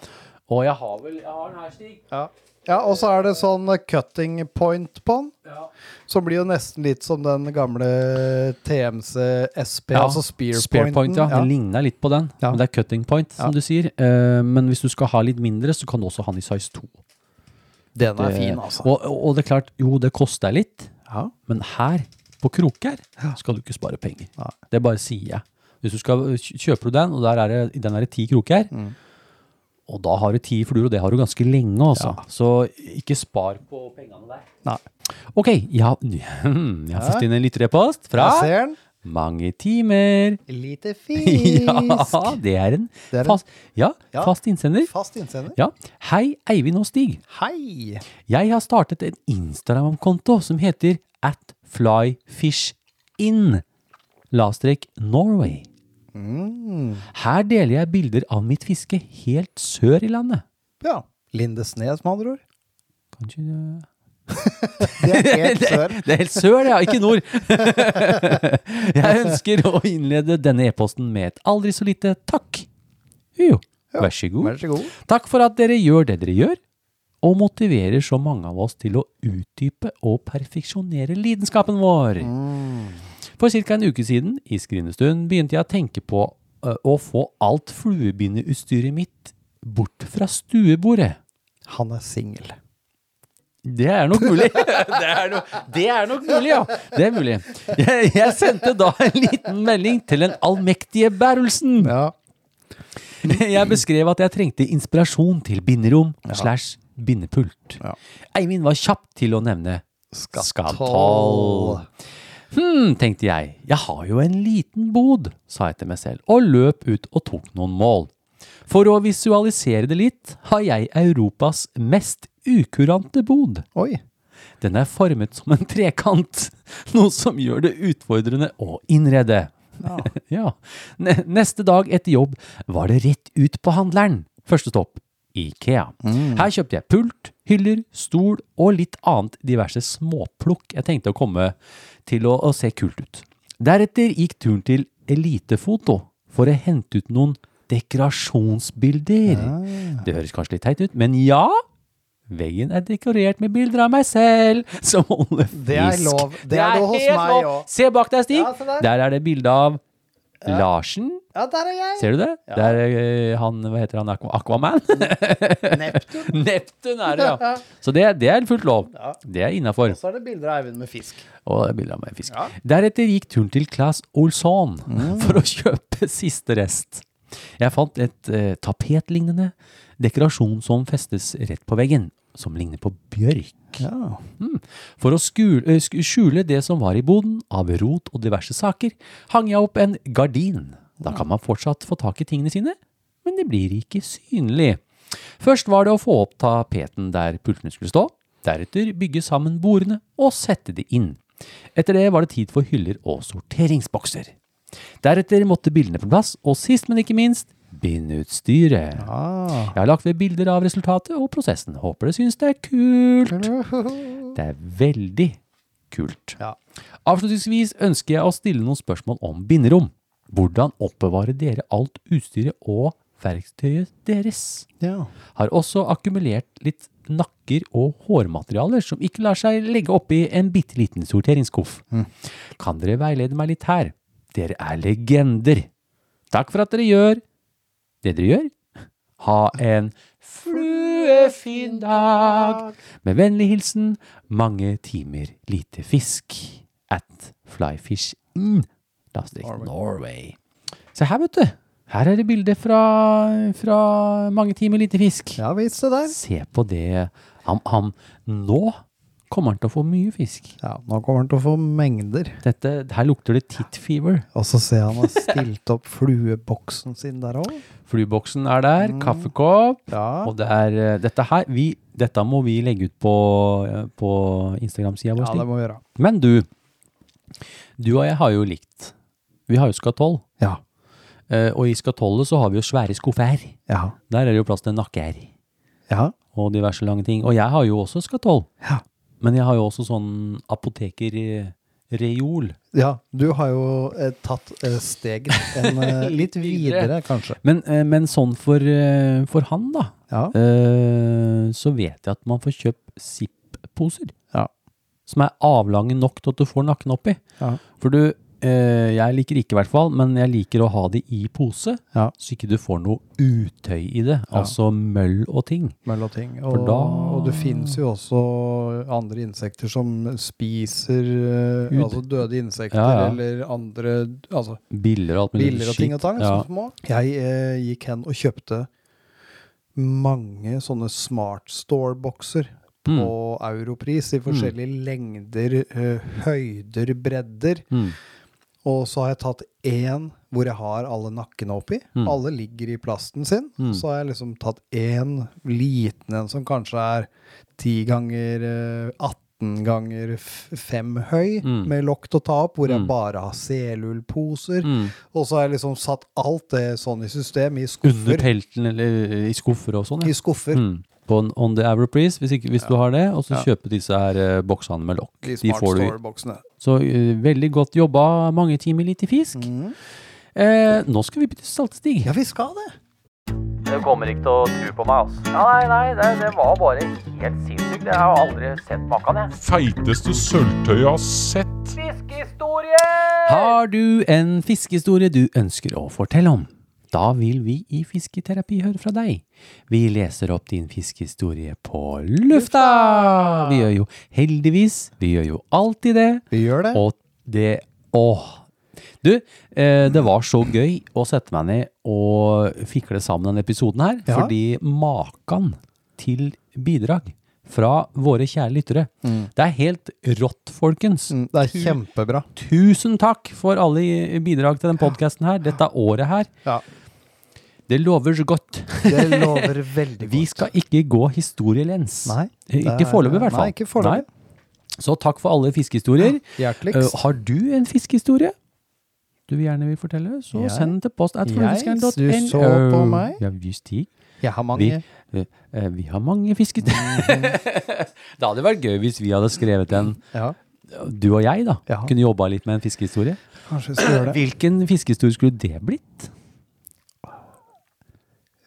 Speaker 2: Og jeg har vel jeg har den her, Stig.
Speaker 5: Ja. ja, og så er det sånn cutting point på den,
Speaker 2: Ja.
Speaker 5: som blir jo nesten litt som den gamle TMC SP, altså spear,
Speaker 2: point, ja. Den
Speaker 5: pointen.
Speaker 2: ligner litt på den.
Speaker 5: Ja.
Speaker 2: Men det er cutting point, som du sier. Eh, men hvis du skal ha litt mindre, så kan du også ha den i size 2.
Speaker 5: Den er
Speaker 2: Det-
Speaker 5: fin, altså.
Speaker 2: Og, og det er klart, jo, det koster litt,
Speaker 5: Ja.
Speaker 2: men her, på Kroker, skal du ikke spare penger.
Speaker 5: Nei.
Speaker 2: Det bare sier jeg. Hvis du skal, eh, kj- kjøper du den, og der er det, i den er det ti kroker,
Speaker 5: Mm.
Speaker 2: og da har du ti fluer, og det har du ganske lenge, altså. Så ikke spar på pengene der.
Speaker 5: Nei.
Speaker 2: Ok, jeg, har- jeg har fått inn en lytterepost fra
Speaker 5: Jeg ser den.
Speaker 2: Mange timer.
Speaker 5: Lite fisk.
Speaker 2: Ja, det er en,
Speaker 5: Det er en-
Speaker 2: fast, ja,
Speaker 5: Ja.
Speaker 2: fast innsender.
Speaker 5: Fast innsender.
Speaker 2: Ja. Hei, Eivind og Stig.
Speaker 5: Hei!
Speaker 2: Jeg har startet en Instagram-konto som heter at flyfishin, lavstrek Norway.
Speaker 5: Mm.
Speaker 2: Her deler jeg bilder av mitt fiske helt sør i landet.
Speaker 5: Ja. Lindesnes, med andre ord.
Speaker 2: Kanskje det-
Speaker 5: Det er helt sør.
Speaker 2: Det er helt sør, ja, ikke nord. Jeg ønsker å innlede denne e-posten med et aldri så lite takk. Jo, vær så god.
Speaker 5: Vær så god.
Speaker 2: Takk for at dere gjør det dere gjør, og motiverer så mange av oss til å utdype og perfeksjonere lidenskapen vår. For ca. en uke siden, i skrinestund, begynte jeg å tenke på ø, å få alt fluebindeutstyret mitt bort fra stuebordet.
Speaker 5: Han er singel.
Speaker 2: Det er nok mulig. Det er, no, det er nok mulig, ja. Det er mulig. Jeg, jeg sendte da en liten melding til den allmektige Bærelsen.
Speaker 5: Ja.
Speaker 2: Jeg beskrev at jeg trengte inspirasjon til binderom slash bindepult.
Speaker 5: Ja.
Speaker 2: Eivind var kjapp til å nevne
Speaker 5: Skattall.
Speaker 2: skattall. Hm, tenkte jeg. Jeg har jo en liten bod, sa jeg til meg selv, og løp ut og tok noen mål. For å visualisere det litt, har jeg Europas mest ukurante bod.
Speaker 5: Oi.
Speaker 2: Den er formet som en trekant, noe som gjør det utfordrende å innrede. Ja. Ne- Neste dag etter jobb var det rett ut på handleren. Første stopp, Ikea. Her kjøpte jeg pult, hyller, stol og litt annet diverse småplukk jeg tenkte å komme til å, å se kult ut. Deretter gikk turen til Elitefoto for å hente ut noen dekorasjonsbilder. Det høres kanskje litt teit ut, men ja, Veggen er dekorert med bilder av meg selv som holder fisk.
Speaker 5: Det er lov. Det er lov hos
Speaker 2: helt
Speaker 5: meg
Speaker 2: lov.
Speaker 5: også.
Speaker 2: Se bak deg, Stig.
Speaker 5: Ja, se der.
Speaker 2: der. er det bilde av Larsen.
Speaker 5: Ja, der er jeg!
Speaker 2: Ser du det? Det er eh, han, hva heter han, Aqu- Aquaman?
Speaker 5: Neptun.
Speaker 2: Neptun er det, ja. Så det, det er fullt lov. Det er innafor.
Speaker 5: Så er det bilder av Eivind med fisk.
Speaker 2: Og det er bilder av meg i fisk. Deretter gikk turen til Claes Olsson
Speaker 5: Mm.
Speaker 2: for å kjøpe siste rest. Jeg fant et eh, tapetlignende dekorasjon som festes rett på veggen, som ligner på bjørk. Mm. For å skule, eh, sk- skjule det som var i boden av rot og diverse saker, hang jeg opp en gardin. Da kan man fortsatt få tak i tingene sine, men det blir ikke synlig. Først var det å få opp tapeten der pultene skulle stå, deretter bygge sammen bordene og sette det inn. Etter det var det tid for hyller og sorteringsbokser. Deretter måtte bildene på plass, og sist, men ikke minst, bindutstyret. Jeg har lagt ved bilder av resultatet og prosessen. Håper dere syns det er kult. Det er veldig kult.
Speaker 5: Ja.
Speaker 2: Avslutningsvis ønsker jeg å stille noen spørsmål om binderom. Hvordan oppbevarer dere alt utstyret og verktøyet deres?
Speaker 5: Ja.
Speaker 2: Har også akkumulert litt nakker og hårmaterialer som ikke lar seg legge oppi en bitte liten sorteringsskuff. Kan dere veilede meg litt her? Dere er legender. Takk for at dere gjør det dere gjør. Ha en fluefin dag. Med vennlig hilsen mange timer lite fisk at Flyfish in Lastvik, Norway. Se her, vet du. Her er det bilde fra, fra mange timer lite fisk.
Speaker 5: Ja visst, det der.
Speaker 2: Se på det. Han, han, nå kommer han til å få mye fisk.
Speaker 5: Ja, nå kommer han til å få mengder.
Speaker 2: Dette, her lukter det tit fever.
Speaker 5: Og så ser jeg han har stilt opp flueboksen sin der òg.
Speaker 2: Flyboksen er der, kaffekopp.
Speaker 5: Mm. Ja.
Speaker 2: Og det er eh, dette her vi, Dette må vi legge ut på, eh, på Instagram-sida vår.
Speaker 5: ja, det
Speaker 2: Stig.
Speaker 5: må vi gjøre.
Speaker 2: Men du, du og jeg har jo likt. Vi har jo skatoll.
Speaker 5: Ja.
Speaker 2: eh, Og i skatollet så har vi jo svære skuffer.
Speaker 5: Ja.
Speaker 2: Der er det jo plass til nakker
Speaker 5: Ja.
Speaker 2: og diverse lange ting. Og jeg har jo også skatoll.
Speaker 5: Ja.
Speaker 2: Men jeg har jo også sånn apotekerreol.
Speaker 5: ja. Du har jo eh, tatt eh, steget en, eh, litt videre, kanskje.
Speaker 2: Men, eh, men sånn for, eh, for han, da,
Speaker 5: Ja.
Speaker 2: eh, så vet jeg at man får kjøpt Zipp-poser.
Speaker 5: Ja.
Speaker 2: Som er avlange nok til at du får nakken oppi.
Speaker 5: Ja.
Speaker 2: For du, eh, jeg liker ikke i hvert fall, men jeg liker å ha det i pose,
Speaker 5: Ja.
Speaker 2: så ikke du får noe utøy i det.
Speaker 5: Ja.
Speaker 2: Altså møll og ting.
Speaker 5: mellom ting. Og,
Speaker 2: da-
Speaker 5: og det finnes jo også andre insekter som spiser eh,
Speaker 2: Hud.
Speaker 5: altså døde insekter
Speaker 2: Ja, ja.
Speaker 5: eller andre altså,
Speaker 2: Biller og alt mulig
Speaker 5: biller og ting og tang. altså.
Speaker 2: Ja.
Speaker 5: sånne små. Jeg eh, gikk hen og kjøpte mange sånne Smart Store-bokser på europris i forskjellige lengder, eh, høyder, bredder.
Speaker 2: Mm.
Speaker 5: Og så har jeg tatt én hvor jeg har alle nakkene oppi.
Speaker 2: Mm.
Speaker 5: Alle ligger i plasten sin.
Speaker 2: Mm.
Speaker 5: Så har jeg liksom tatt én liten en som kanskje er 10 ganger eh, 18 ganger 5 høy,
Speaker 2: Mm.
Speaker 5: med lokk til å ta opp, hvor jeg
Speaker 2: Mm.
Speaker 5: bare har selullposer.
Speaker 2: Mm.
Speaker 5: Og så har jeg liksom satt alt det sånn i system, i
Speaker 2: Under
Speaker 5: skuffer.
Speaker 2: pelten eller i skuffer og sånn.
Speaker 5: I
Speaker 2: Ja.
Speaker 5: skuffer.
Speaker 2: Mm. På en On the Europris, hvis, ikke, hvis du har det. Og så
Speaker 5: Ja.
Speaker 2: kjøpe disse her eh, boksene med lokk.
Speaker 5: De
Speaker 2: De,
Speaker 5: Smart
Speaker 2: får du i
Speaker 5: Store-boksene.
Speaker 2: Så eh, veldig godt jobba, mange timer lite fisk. Eh, nå skal vi bytte saltstig.
Speaker 5: Ja, vi skal det!
Speaker 3: Du kommer ikke til å tro på meg, altså. Nei, nei, det, det var bare helt sinnssykt. Jeg har aldri sett maken, jeg.
Speaker 4: Feiteste sølvtøyet jeg har sett.
Speaker 3: Fiskehistorie!
Speaker 2: Har du en fiskehistorie du ønsker å fortelle om? Da vil vi i Fisketerapi høre fra deg. Vi leser opp din fiskehistorie på lufta! Vi gjør jo heldigvis, vi gjør jo alltid det.
Speaker 5: Vi gjør det.
Speaker 2: Og det Åh. Du, eh, det var så gøy å sette meg ned og fikle sammen denne episoden her.
Speaker 5: Ja.
Speaker 2: Fordi makan til bidrag fra våre kjære lyttere. Det er helt rått, folkens.
Speaker 5: Mm, Det er kjempebra.
Speaker 2: Tusen takk for alle i- bidrag til den podkasten her. Dette året her.
Speaker 5: Ja.
Speaker 2: Det lover så godt.
Speaker 5: Det lover veldig godt.
Speaker 2: Vi skal ikke gå historielens.
Speaker 5: Nei,
Speaker 2: Eh,
Speaker 5: det
Speaker 2: Ikke
Speaker 5: er-
Speaker 2: foreløpig, i hvert fall.
Speaker 5: Nei, ikke foreløpig.
Speaker 2: Nei. Så takk for alle fiskehistorier.
Speaker 5: Hjerteligst.
Speaker 2: Eh, har du en fiskehistorie du vil gjerne vil fortelle, så
Speaker 5: Jeg?
Speaker 2: send den til post at
Speaker 5: Jeg?
Speaker 2: forfiskeren.no.
Speaker 5: Du så på meg?
Speaker 2: Ja, just de.
Speaker 5: Jeg har
Speaker 2: Vi,
Speaker 5: mange.
Speaker 2: eh, eh, vi har mange fiskehistorier. det hadde vært gøy hvis vi hadde skrevet en,
Speaker 5: Ja,
Speaker 2: du og jeg, da.
Speaker 5: Ja.
Speaker 2: Kunne jobba litt med en fiskehistorie.
Speaker 5: kanskje vi skal gjøre det.
Speaker 2: Hvilken fiskehistorie skulle det blitt?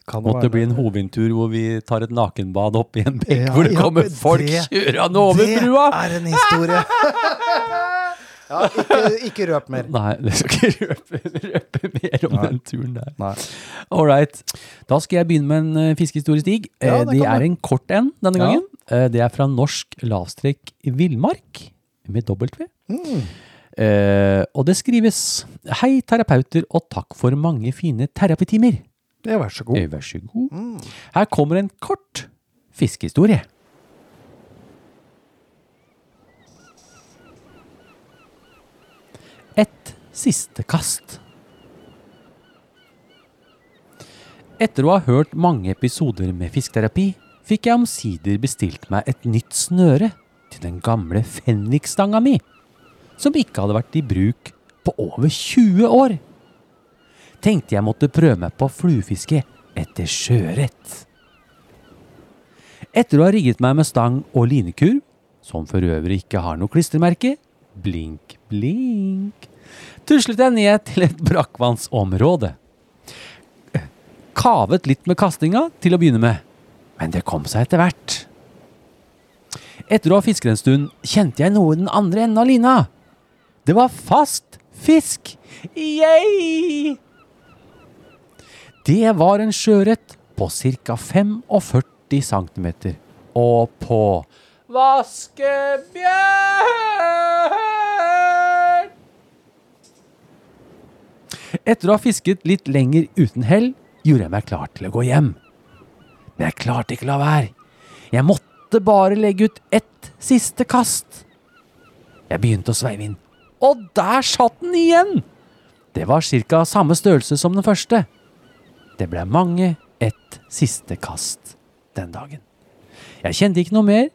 Speaker 5: Kan
Speaker 2: Måtte
Speaker 5: være
Speaker 2: det bli en hovedtur hvor vi tar et nakenbad opp i en bekk
Speaker 5: Ja,
Speaker 2: hvor det
Speaker 5: ja,
Speaker 2: kommer
Speaker 5: men
Speaker 2: folk
Speaker 5: det-
Speaker 2: kjørende over
Speaker 5: det
Speaker 2: brua?
Speaker 5: er en historie! ja, ikke, ikke røp mer.
Speaker 2: Nei, det skal ikke røpe, røpe mer om den turen der.
Speaker 5: Nei.
Speaker 2: Ålreit. Da skal jeg begynne med en eh, fiskehistorie, Stig. Eh,
Speaker 5: Ja, det
Speaker 2: det
Speaker 5: kan
Speaker 2: er
Speaker 5: du.
Speaker 2: en kort en denne
Speaker 5: Ja.
Speaker 2: gangen. Eh, Det er fra norsk lavstrekk villmark, med dobbelt V.
Speaker 5: Mm.
Speaker 2: Eh, og det skrives Hei, terapeuter, og takk for mange fine terapitimer.
Speaker 5: Ja, vær så god.
Speaker 2: Eh, Vær så god. Her kommer en kort fiskehistorie. Et siste kast. Etter å ha hørt mange episoder med fisketerapi, fikk jeg omsider bestilt meg et nytt snøre til den gamle fennikstanga mi. som ikke hadde vært i bruk på over 20 år. Tenkte jeg måtte prøve meg på fluefiske etter sjøørret. Etter å ha rigget meg med stang og linekurv, som for øvrig ikke har noe klistremerke, blink, blink, tuslet jeg ned til et brakkvannsområde. Kavet litt med kastinga til å begynne med, men det kom seg etter hvert. Etter å ha fisket en stund, kjente jeg noe i den andre enden av lina. Det var fast fisk! Yay! Det var en sjøørret på ca. 45 cm. Og på Vaskebjørn! Etter å ha fisket litt lenger uten hell, gjorde jeg meg klar til å gå hjem. Men jeg klarte ikke la være. Jeg måtte bare legge ut ett siste kast. Jeg begynte å sveive inn, og der satt den igjen! Det var ca. samme størrelse som den første. Det ble mange ett siste kast den dagen. Jeg kjente ikke noe mer,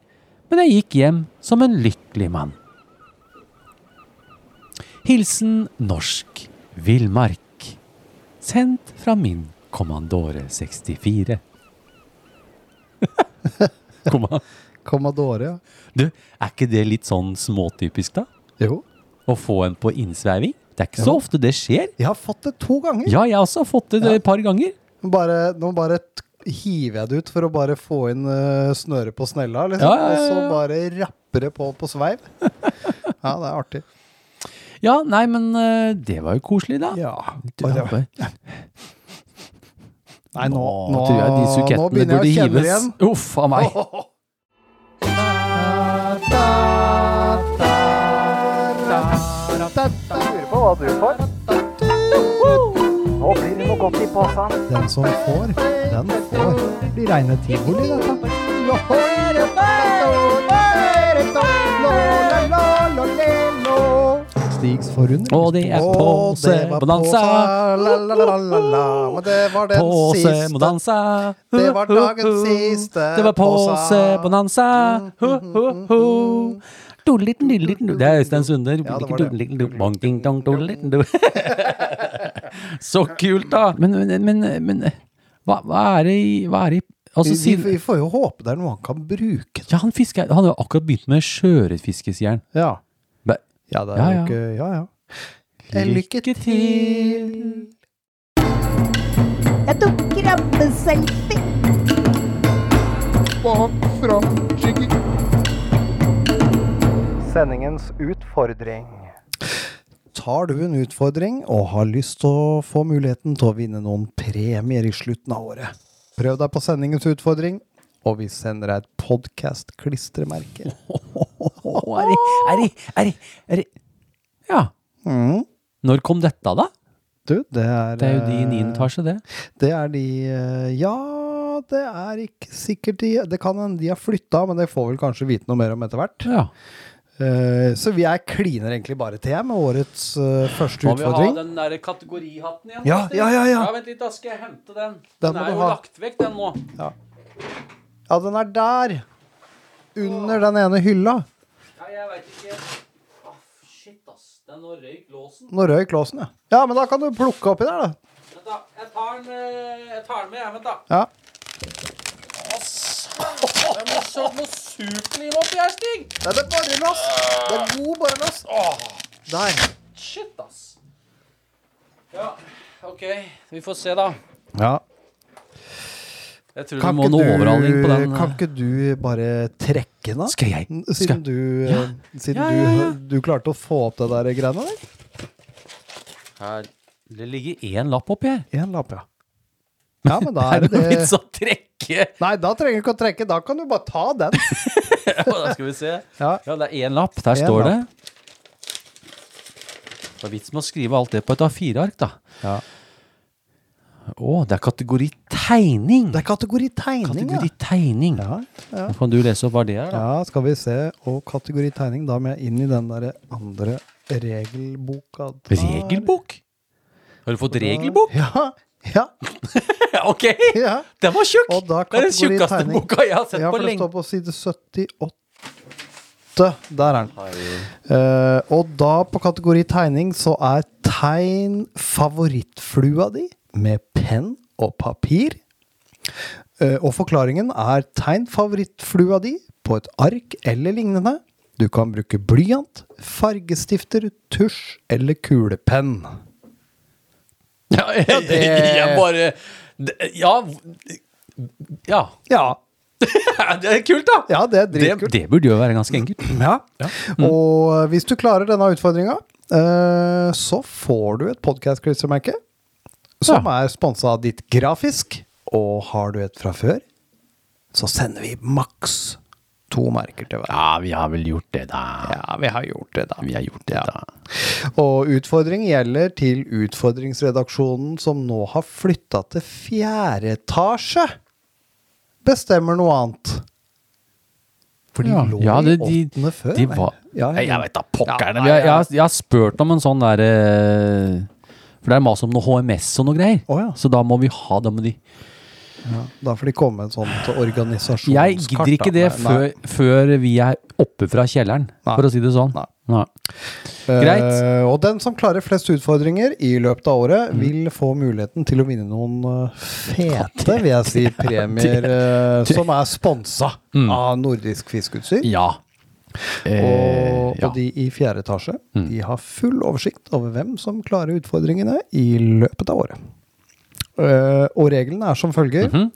Speaker 2: men jeg gikk hjem som en lykkelig mann. Hilsen norsk villmark. Sendt fra min Kommandore 64. Komma.
Speaker 5: Commodore, ja.
Speaker 2: Du, er ikke det litt sånn småtypisk, da?
Speaker 5: Jo.
Speaker 2: Å få en på innsveiving? Det er ikke så ofte det skjer.
Speaker 5: Jeg har fått det to ganger.
Speaker 2: Ja, jeg har også fått det et par ganger.
Speaker 5: Bare, nå bare t- hiver jeg det ut for å bare få inn eh, snøret på snella, liksom.
Speaker 2: Ja, ja, ja,
Speaker 5: Og
Speaker 2: ja.
Speaker 5: så bare rapper det på på sveiv. ja, det er artig.
Speaker 2: Ja, nei, men eh, det var jo koselig, da.
Speaker 5: Ja.
Speaker 2: Du, ja, bare-
Speaker 5: Nei, nå,
Speaker 2: Å,
Speaker 5: nå,
Speaker 2: tror jeg de
Speaker 5: nå
Speaker 2: sukettene
Speaker 5: begynner
Speaker 2: burde
Speaker 5: jeg å kjenne det
Speaker 2: hives.
Speaker 5: igjen.
Speaker 2: Uff a meg.
Speaker 3: Lurer på hva du får. Nå blir det noe godt i posen.
Speaker 5: Den som får, den får. Det blir reine tivoli, dette. Stigs forunder.
Speaker 2: Og det er
Speaker 5: Å, det var
Speaker 2: påsemodanza.
Speaker 5: påse, la, la, la, la, la. Men det var den siste.
Speaker 2: Påsemodanza.
Speaker 5: Det var dagens siste
Speaker 2: Det var
Speaker 5: påsa. Mm,
Speaker 2: påsemodanza. Ho, ho, ho. Doodlitten, doodlitten, do- Det er Øystein Sunder.
Speaker 5: Ja, det var det.
Speaker 2: Doodlitten, do- bong, ding, dong, doodlitten, do. Så kult, da! Men, men, men, men hva, hva er det i hva er det, i- altså,
Speaker 5: Vi, vi,
Speaker 2: siden-
Speaker 5: vi får jo håpe det er noe han kan bruke.
Speaker 2: Ja, han fisker, han har jo akkurat begynt med sjøørretfiske, sier han.
Speaker 5: Ja.
Speaker 2: Bæ-
Speaker 5: Ja, det er
Speaker 2: Ja,
Speaker 5: jo
Speaker 2: ja.
Speaker 5: ikke Ja, ja.
Speaker 2: Lykke til.
Speaker 6: Jeg tok krabbeselfie.
Speaker 5: Sendingens utfordring. Tar du en utfordring og har lyst til å få muligheten til å vinne noen premier i slutten av året, prøv deg på sendingens utfordring, og vi sender deg et podkast-klistremerke.
Speaker 2: Å, er det, er det, er det, er det. Ja.
Speaker 5: Mm.
Speaker 2: Når kom dette, da?
Speaker 5: Du, det er
Speaker 2: Det er jo de i
Speaker 5: eh,
Speaker 2: niende etasje, det.
Speaker 5: Det er de eh, Ja, det er ikke sikkert de Det kan hende de har flytta, men det får vel kanskje vite noe mer om etter hvert.
Speaker 2: Ja.
Speaker 5: Eh, så vi er kliner egentlig bare til med årets eh, første utfordring.
Speaker 2: den der kategorihatten igjen?
Speaker 5: Ja, ja, ja, ja.
Speaker 2: Vent litt, da skal jeg hente den.
Speaker 5: Den må du ha.
Speaker 2: vekk, den nå.
Speaker 5: Ja, den er der! Under den ene hylla.
Speaker 2: Nei, jeg veit ikke. Ah, shit, ass. Den nå røyk låsen.
Speaker 5: Nå røyk låsen, ja. Ja, men da kan du plukke oppi der, da.
Speaker 2: Vent, da. Jeg tar den, eh, jeg tar den med, jeg. Vent, da.
Speaker 5: Ja.
Speaker 2: Det må så noe superliv oppi her, Stig.
Speaker 5: Det er borrelås! Det er god borrelås. Der.
Speaker 2: Shit, ass. Ja, OK. Vi får se, da.
Speaker 5: Ja.
Speaker 2: Jeg tror vi
Speaker 5: Kan
Speaker 2: må
Speaker 5: ikke,
Speaker 2: nå overhaling på
Speaker 5: du,
Speaker 2: den. eh.
Speaker 5: kan ikke du bare trekke den av?
Speaker 2: Skal jeg? Skal
Speaker 5: Siden, du, eh, siden
Speaker 2: Ja, ja, ja.
Speaker 5: Du, du klarte å få opp det der greiene der?
Speaker 2: Her. Det ligger én lapp oppi her.
Speaker 5: Én lapp, ja. Ja, men da er
Speaker 2: Er
Speaker 5: det
Speaker 2: det noe vits
Speaker 5: det.
Speaker 2: å trekke?
Speaker 5: Nei, da trenger du ikke å trekke. Da kan du bare ta den.
Speaker 2: Ja, da skal vi se.
Speaker 5: Ja.
Speaker 2: Ja, det er én lapp. Der
Speaker 5: En
Speaker 2: står det. Det er vits med å skrive alt det på et A4-ark, da.
Speaker 5: Ja.
Speaker 2: Å, det er kategori tegning!
Speaker 5: Det er kategori tegning,
Speaker 2: kategori tegning.
Speaker 5: ja. Ja,
Speaker 2: Da kan du lese opp hva det er, da.
Speaker 5: ja, skal vi se. Og kategori tegning, da må jeg inn i den derre andre regelboka. der.
Speaker 2: Regelbok? Har du fått regelbok?
Speaker 5: Ja. Ja.
Speaker 2: ok!
Speaker 5: ja.
Speaker 2: Den var tjukk!
Speaker 5: Og
Speaker 2: Det er
Speaker 5: da
Speaker 2: den
Speaker 5: kategori
Speaker 2: tjukkeste
Speaker 5: tegning.
Speaker 2: boka jeg har sett
Speaker 5: Ja,
Speaker 2: på
Speaker 5: for det
Speaker 2: lenge.
Speaker 5: står på side 78. åtte. Der er den. Eh, og da, på kategori tegning, så er tegn favorittflua di med penn og papir. Eh, og forklaringen er tegn favorittflua di på et ark eller lignende. Du kan bruke blyant, fargestifter, tusj eller kulepenn.
Speaker 2: Ja, jeg, jeg bare det- Ja. Ja.
Speaker 5: Ja,
Speaker 2: Det er kult, da!
Speaker 5: ja det er
Speaker 2: det,
Speaker 5: dritkult.
Speaker 2: det burde jo være ganske enkelt.
Speaker 5: Ja.
Speaker 2: Mm.
Speaker 5: Og eh, hvis du klarer denne utfordringa, eh, så får du et podkast-klistremerke som er sponsa av ditt grafisk. Og har du et fra før, så sender vi maks to merker til hver.
Speaker 2: Ja, vi har vel gjort det, da.
Speaker 5: Ja, vi har gjort det, da.
Speaker 2: Vi har gjort det, da.
Speaker 5: Og utfordring gjelder til utfordringsredaksjonen som nå har flytta til fjerde etasje. Bestemmer noe annet. For de
Speaker 2: Ja.
Speaker 5: lå
Speaker 2: Ja, det-
Speaker 5: i
Speaker 2: de-
Speaker 5: åttende før.
Speaker 2: De
Speaker 5: nei?
Speaker 2: var,
Speaker 5: Ja,
Speaker 2: Nei, jeg vet da pokkerne.
Speaker 5: Ja,
Speaker 2: vi har-
Speaker 5: nei,
Speaker 2: jeg, har- jeg har spurt om en sånn derre For det er mas om noe HMS og noe greier.
Speaker 5: Å, ja.
Speaker 2: Så da må vi ha det med de.
Speaker 5: Da får de komme med et sånt organisasjonskart.
Speaker 2: Jeg gidder ikke
Speaker 5: da.
Speaker 2: det
Speaker 5: Nei.
Speaker 2: før, før vi er oppe fra kjelleren,
Speaker 5: Nei.
Speaker 2: for å si det sånn.
Speaker 5: Nei.
Speaker 2: Nei.
Speaker 5: Eh,
Speaker 2: greit.
Speaker 5: og den som klarer flest utfordringer i løpet av
Speaker 2: Mm.
Speaker 5: året, vil få muligheten til å vinne noen eh, fete, vil jeg si, premier eh, som er sponsa
Speaker 2: Mm.
Speaker 5: av Nordisk Fiskeutstyr.
Speaker 2: Ja.
Speaker 5: Og,
Speaker 2: Eh, ja. Mm.
Speaker 5: og de i fjerde etasje de har full oversikt over hvem som klarer utfordringene i løpet av året. Eh, og reglene er som følger.
Speaker 2: Mhm.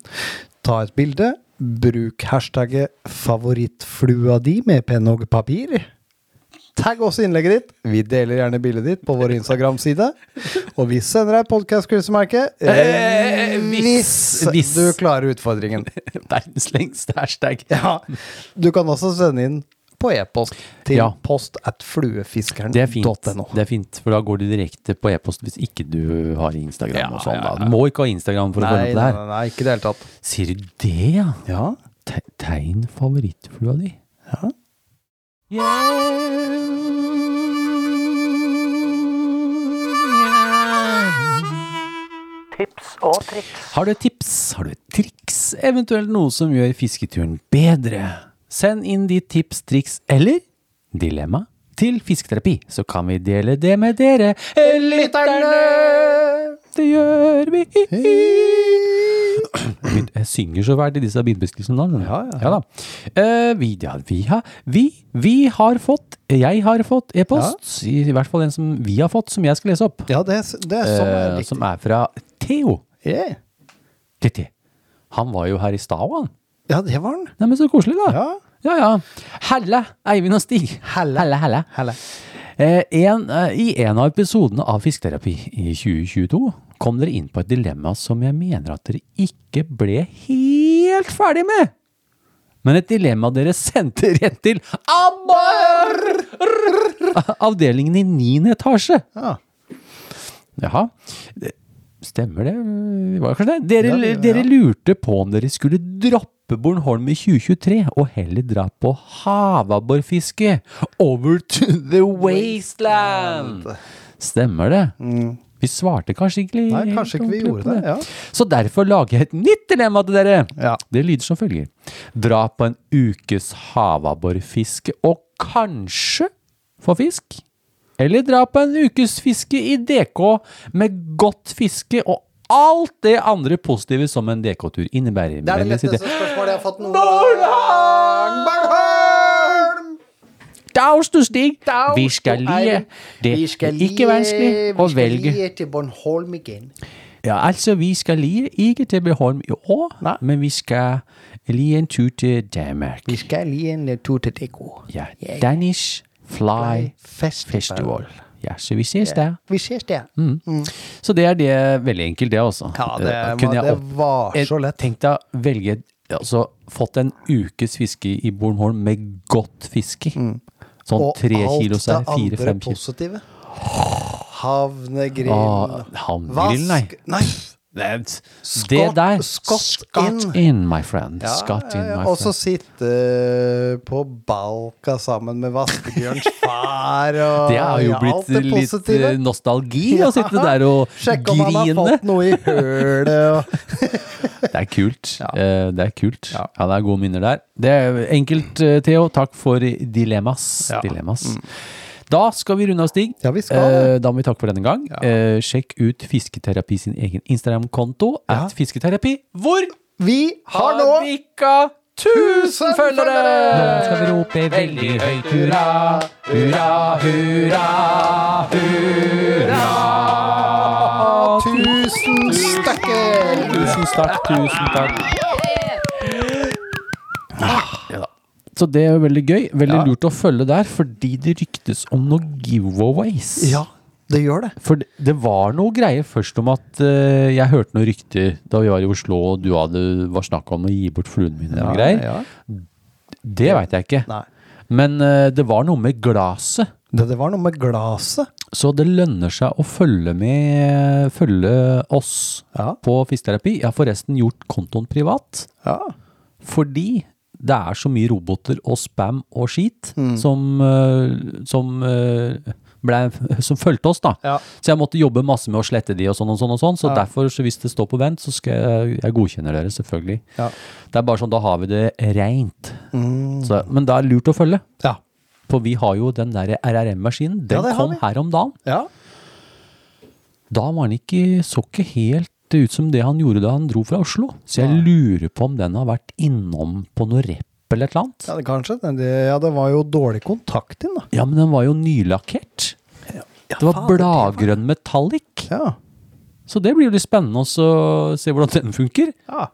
Speaker 5: Ta et bilde. Bruk hashtagget 'favorittflua di' med penn og papir. Tagg også innlegget ditt. Vi deler gjerne bildet ditt på vår Instagram-side. Og vi sender deg podkast-krisemerke
Speaker 2: Eh, hvis-
Speaker 5: hvis,
Speaker 2: hvis.
Speaker 5: du klarer utfordringen.
Speaker 2: Verdens lengste hashtag.
Speaker 5: Ja. Du kan også sende inn på e-post til
Speaker 2: Ja.
Speaker 5: post at fluefiskeren.no.
Speaker 2: Det er fint, det er fint, for da går du direkte på e-post hvis ikke du har Instagram. og sånn da. Du må ikke ha Instagram for å følge
Speaker 5: Nei, nei,
Speaker 2: med på det her.
Speaker 5: nei, nei, ikke i det hele tatt.
Speaker 2: Sier du det, ja?
Speaker 5: Ja.
Speaker 2: Te tegn favorittflua di.
Speaker 5: Ja.
Speaker 3: Tips og triks.
Speaker 2: Har du et tips, har du et triks, eventuelt noe som gjør fisketuren bedre? Send inn ditt tips, triks eller dilemma til Fisketerapi, så kan vi dele det med dere lytterne! Det gjør vi! Jeg synger så fælt i disse bilbeskrivelsene nå. skjønner du.
Speaker 5: Ja, ja, ja.
Speaker 2: da. Eh, vi, ja, vi, har, vi, vi har fått, jeg har fått e-post, i hvert fall en som vi har fått, som jeg skal lese opp,
Speaker 5: ja, det, er s- det er sånn det er
Speaker 2: eh,
Speaker 5: riktig.
Speaker 2: som er fra Theo.
Speaker 5: Yeah.
Speaker 2: Titti. Han var jo her i stad, han.
Speaker 5: Ja, det var den.
Speaker 2: Neimen, så koselig, da.
Speaker 5: Ja.
Speaker 2: ja. ja. Helle, Eivind og Stig.
Speaker 5: Helle.
Speaker 2: Helle, helle.
Speaker 5: Helle.
Speaker 2: Eh, en, eh, I en av episodene av Fisketerapi i 2022 kom dere inn på et dilemma som jeg mener at dere ikke ble helt ferdig med. Men et dilemma dere sendte rett til ABBOR! Avdelingen i 9. etasje.
Speaker 5: Ja.
Speaker 2: Jaha. Det- Stemmer det? Vi var kanskje det? Dere,
Speaker 5: Ja, det-
Speaker 2: dere
Speaker 5: ja.
Speaker 2: lurte på om dere skulle droppe Bornholm i 2023 og heller dra på havabborfiske over to the wasteland. Stemmer det? Vi svarte kanskje ikke
Speaker 5: Mm. Nei,
Speaker 2: helt
Speaker 5: kanskje ikke vi
Speaker 2: ordentlig på
Speaker 5: gjorde det. Ja.
Speaker 2: Så derfor lager jeg et nytt dilemma til dere.
Speaker 5: Ja.
Speaker 2: Det lyder som følger. Dra på en ukes havabborfiske og kanskje få fisk? Eller dra på en ukes fiske i DK med godt fiske og alt det andre positive som en DK-tur innebærer.
Speaker 5: Det er det
Speaker 2: Men jeg sitter-
Speaker 5: letteste spørsmålet jeg har fått noen gang. Bornholm!
Speaker 2: Daus du stig, vi skal
Speaker 5: du
Speaker 2: lie.
Speaker 5: Eivind.
Speaker 2: Det
Speaker 5: Vi
Speaker 2: er
Speaker 5: skal
Speaker 2: ikke
Speaker 5: lie-
Speaker 2: vanskelig å
Speaker 5: Vi
Speaker 2: velge.
Speaker 5: skal lie til Bornholm igjen.
Speaker 2: Ja, altså, vi skal lige ikke til Beholm i år,
Speaker 5: Nej.
Speaker 2: men vi skal lige en tur til Danmark.
Speaker 5: Vi skal lie en tur til Deko.
Speaker 2: Ja,
Speaker 5: Ja.
Speaker 2: Danish Fly
Speaker 5: Festival.
Speaker 2: Festival. Ja, så vi ses der.
Speaker 5: Vi ses der.
Speaker 2: Mm. Så det er det veldig enkelt, det også.
Speaker 5: Ja, det,
Speaker 2: Eh,
Speaker 5: var,
Speaker 2: kunne jeg
Speaker 5: det
Speaker 2: opp-
Speaker 5: var så lett.
Speaker 2: Tenk deg å velge Altså, fått en ukes fiske i Bornholm med godt fiske.
Speaker 5: Mm.
Speaker 2: Sånn tre kilo sær, fire-fem kilo.
Speaker 5: positive. Havnegrill.
Speaker 2: Å, havngrillen, Ah, nei.
Speaker 5: Vask Nei!
Speaker 2: Det, det
Speaker 5: Scott-
Speaker 2: der
Speaker 5: Scott
Speaker 2: Scott in. my friend. Scott in, my
Speaker 5: Og så
Speaker 2: friend.
Speaker 5: sitte på Balka sammen med Vaskebjørns far og
Speaker 2: Det har jo
Speaker 5: ja, alt
Speaker 2: blitt
Speaker 5: det
Speaker 2: litt
Speaker 5: positive.
Speaker 2: eh, nostalgi å sitte der og
Speaker 5: Sjekke om han har
Speaker 2: grine.
Speaker 5: fått noe i hølet og
Speaker 2: Det er kult. Eh, Det er kult. Ja.
Speaker 5: Ja.
Speaker 2: det er gode minner der. Det er enkelt, eh, Theo. Takk for dilemmas.
Speaker 5: Ja.
Speaker 2: dilemmas. Da skal vi runde av, Stig.
Speaker 5: Ja, vi skal det.
Speaker 2: Eh, Da må vi takke for denne gang. Eh, Sjekk ut Fisketerapi sin egen Instagram-konto. At Fisketerapi. Hvor
Speaker 5: Vi har nå
Speaker 2: bikka 1000 følgere!
Speaker 1: Nå skal vi rope veldig høyt hurra.
Speaker 5: tusen stykker!
Speaker 2: Tusen takk, tusen takk. Ah, Ja da. Så det er jo veldig gøy. Veldig lurt å følge der, fordi det ryktes om noen giveaways.
Speaker 5: Ja, det gjør det.
Speaker 2: For det- det var noe greier først om at eh, jeg hørte noen rykter da vi var i Oslo og du hadde var snakk om å gi bort fluene mine og noen greier.
Speaker 5: Ja.
Speaker 2: Det veit jeg ikke.
Speaker 5: Nei.
Speaker 2: Men eh, det var noe med glaset.
Speaker 5: Det, det var noe med glaset.
Speaker 2: Så det lønner seg å følge med Følge oss
Speaker 5: Ja.
Speaker 2: på Fisketerapi. Jeg har forresten gjort kontoen privat.
Speaker 5: Ja.
Speaker 2: Fordi det er så mye roboter og spam og skit
Speaker 5: Mm.
Speaker 2: som, eh, som eh, ble, som fulgte oss, da.
Speaker 5: Ja.
Speaker 2: Så jeg måtte jobbe masse med å slette de og sånn og sånn. og sånn Så derfor, så hvis det står på vent, så skal jeg, jeg godkjenner dere, selvfølgelig.
Speaker 5: Ja.
Speaker 2: Det er bare sånn, da har vi det reint.
Speaker 5: Mm.
Speaker 2: Så, men det er lurt å følge.
Speaker 5: Ja.
Speaker 2: For vi har jo den der RRM-maskinen.
Speaker 5: Ja,
Speaker 2: Den
Speaker 5: det har
Speaker 2: kom
Speaker 5: vi.
Speaker 2: her om dagen.
Speaker 5: ja.
Speaker 2: Da var han ikke, så ikke helt ut som det han gjorde da han dro fra Oslo. Så jeg lurer på om den har vært innom på noe rep eller et eller annet.
Speaker 5: det, kanskje. Den, det, ja, det var jo dårlig kontakt inn, da.
Speaker 2: Ja, men den var jo nylakkert. Det var bladgrønn metallic.
Speaker 5: Ja.
Speaker 2: Så det blir jo litt spennende også å se hvordan den funker.
Speaker 5: Ja.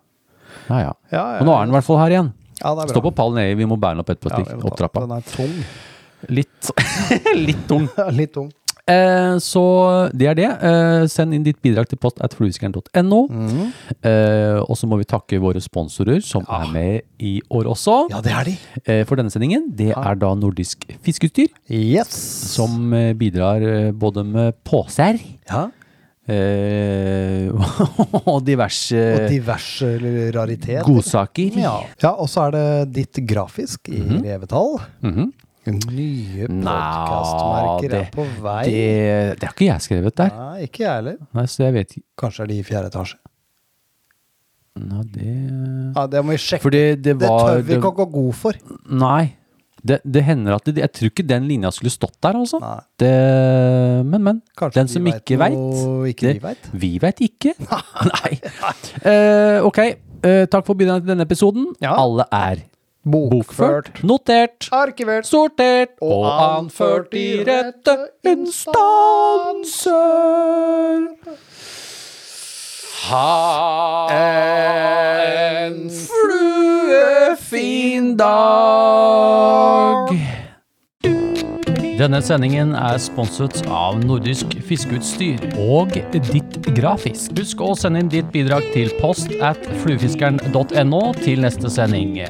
Speaker 2: Ja, ja.
Speaker 5: Ja, ja,
Speaker 2: Men nå er den i hvert fall her igjen.
Speaker 5: ja, det er bra.
Speaker 2: Stå på pallen nedi, vi må bære den opp etterpå.
Speaker 5: Ja,
Speaker 2: Stig.
Speaker 5: jeg må ta-
Speaker 2: opp trappa.
Speaker 5: Den er tung.
Speaker 2: Litt, litt tung.
Speaker 5: Ja, Litt tung.
Speaker 2: Eh, så det er det. Eh, send inn ditt bidrag til post at fluefiskeren.no.
Speaker 5: Mhm.
Speaker 2: Eh, og så må vi takke våre sponsorer, som er med i år også.
Speaker 5: Ja, det er de.
Speaker 2: Eh, for denne sendingen, det er da Nordisk Fiskeutstyr,
Speaker 5: Yes.
Speaker 2: som eh, bidrar eh, både med poser
Speaker 5: ja.
Speaker 2: eh, og diverse
Speaker 5: Og diverse eller rariteter.
Speaker 2: Eh, godsaker.
Speaker 5: Ja. ja, og så er det ditt grafisk i
Speaker 2: Mhm.
Speaker 5: revetall. Nye
Speaker 2: Nei,
Speaker 5: podkastmerker er
Speaker 2: Mhm. det,
Speaker 5: på vei.
Speaker 2: det, det har ikke jeg skrevet der.
Speaker 5: Nei, ikke jeg heller.
Speaker 2: Nei, så jeg vet ikke
Speaker 5: Kanskje er de i fjerde etasje.
Speaker 2: Nei, det
Speaker 5: Ja, Det må vi sjekke.
Speaker 2: Fordi det
Speaker 5: det
Speaker 2: var
Speaker 5: tør vi ikke å gå god for.
Speaker 2: Nei. Det, det hender at det, Jeg tror ikke den linja skulle stått der, altså.
Speaker 5: Nei.
Speaker 2: Det, men, men.
Speaker 5: Kanskje
Speaker 2: den
Speaker 5: vi
Speaker 2: som
Speaker 5: vet
Speaker 2: ikke
Speaker 5: noe
Speaker 2: veit
Speaker 5: ikke vi vet.
Speaker 2: Vi veit ikke. Nei. Eh, ok. Eh, takk for bidraget til denne episoden.
Speaker 5: Ja.
Speaker 2: Alle er
Speaker 5: Bokført.
Speaker 2: notert,
Speaker 5: Arkivert.
Speaker 2: sortert og,
Speaker 5: Og
Speaker 2: anført i rette instanser. Ha en fluefin dag. Denne sendingen er sponset av Nordisk Fiskeutstyr og Ditt Grafisk. Husk å sende inn ditt bidrag til post at fluefiskeren.no til neste sending.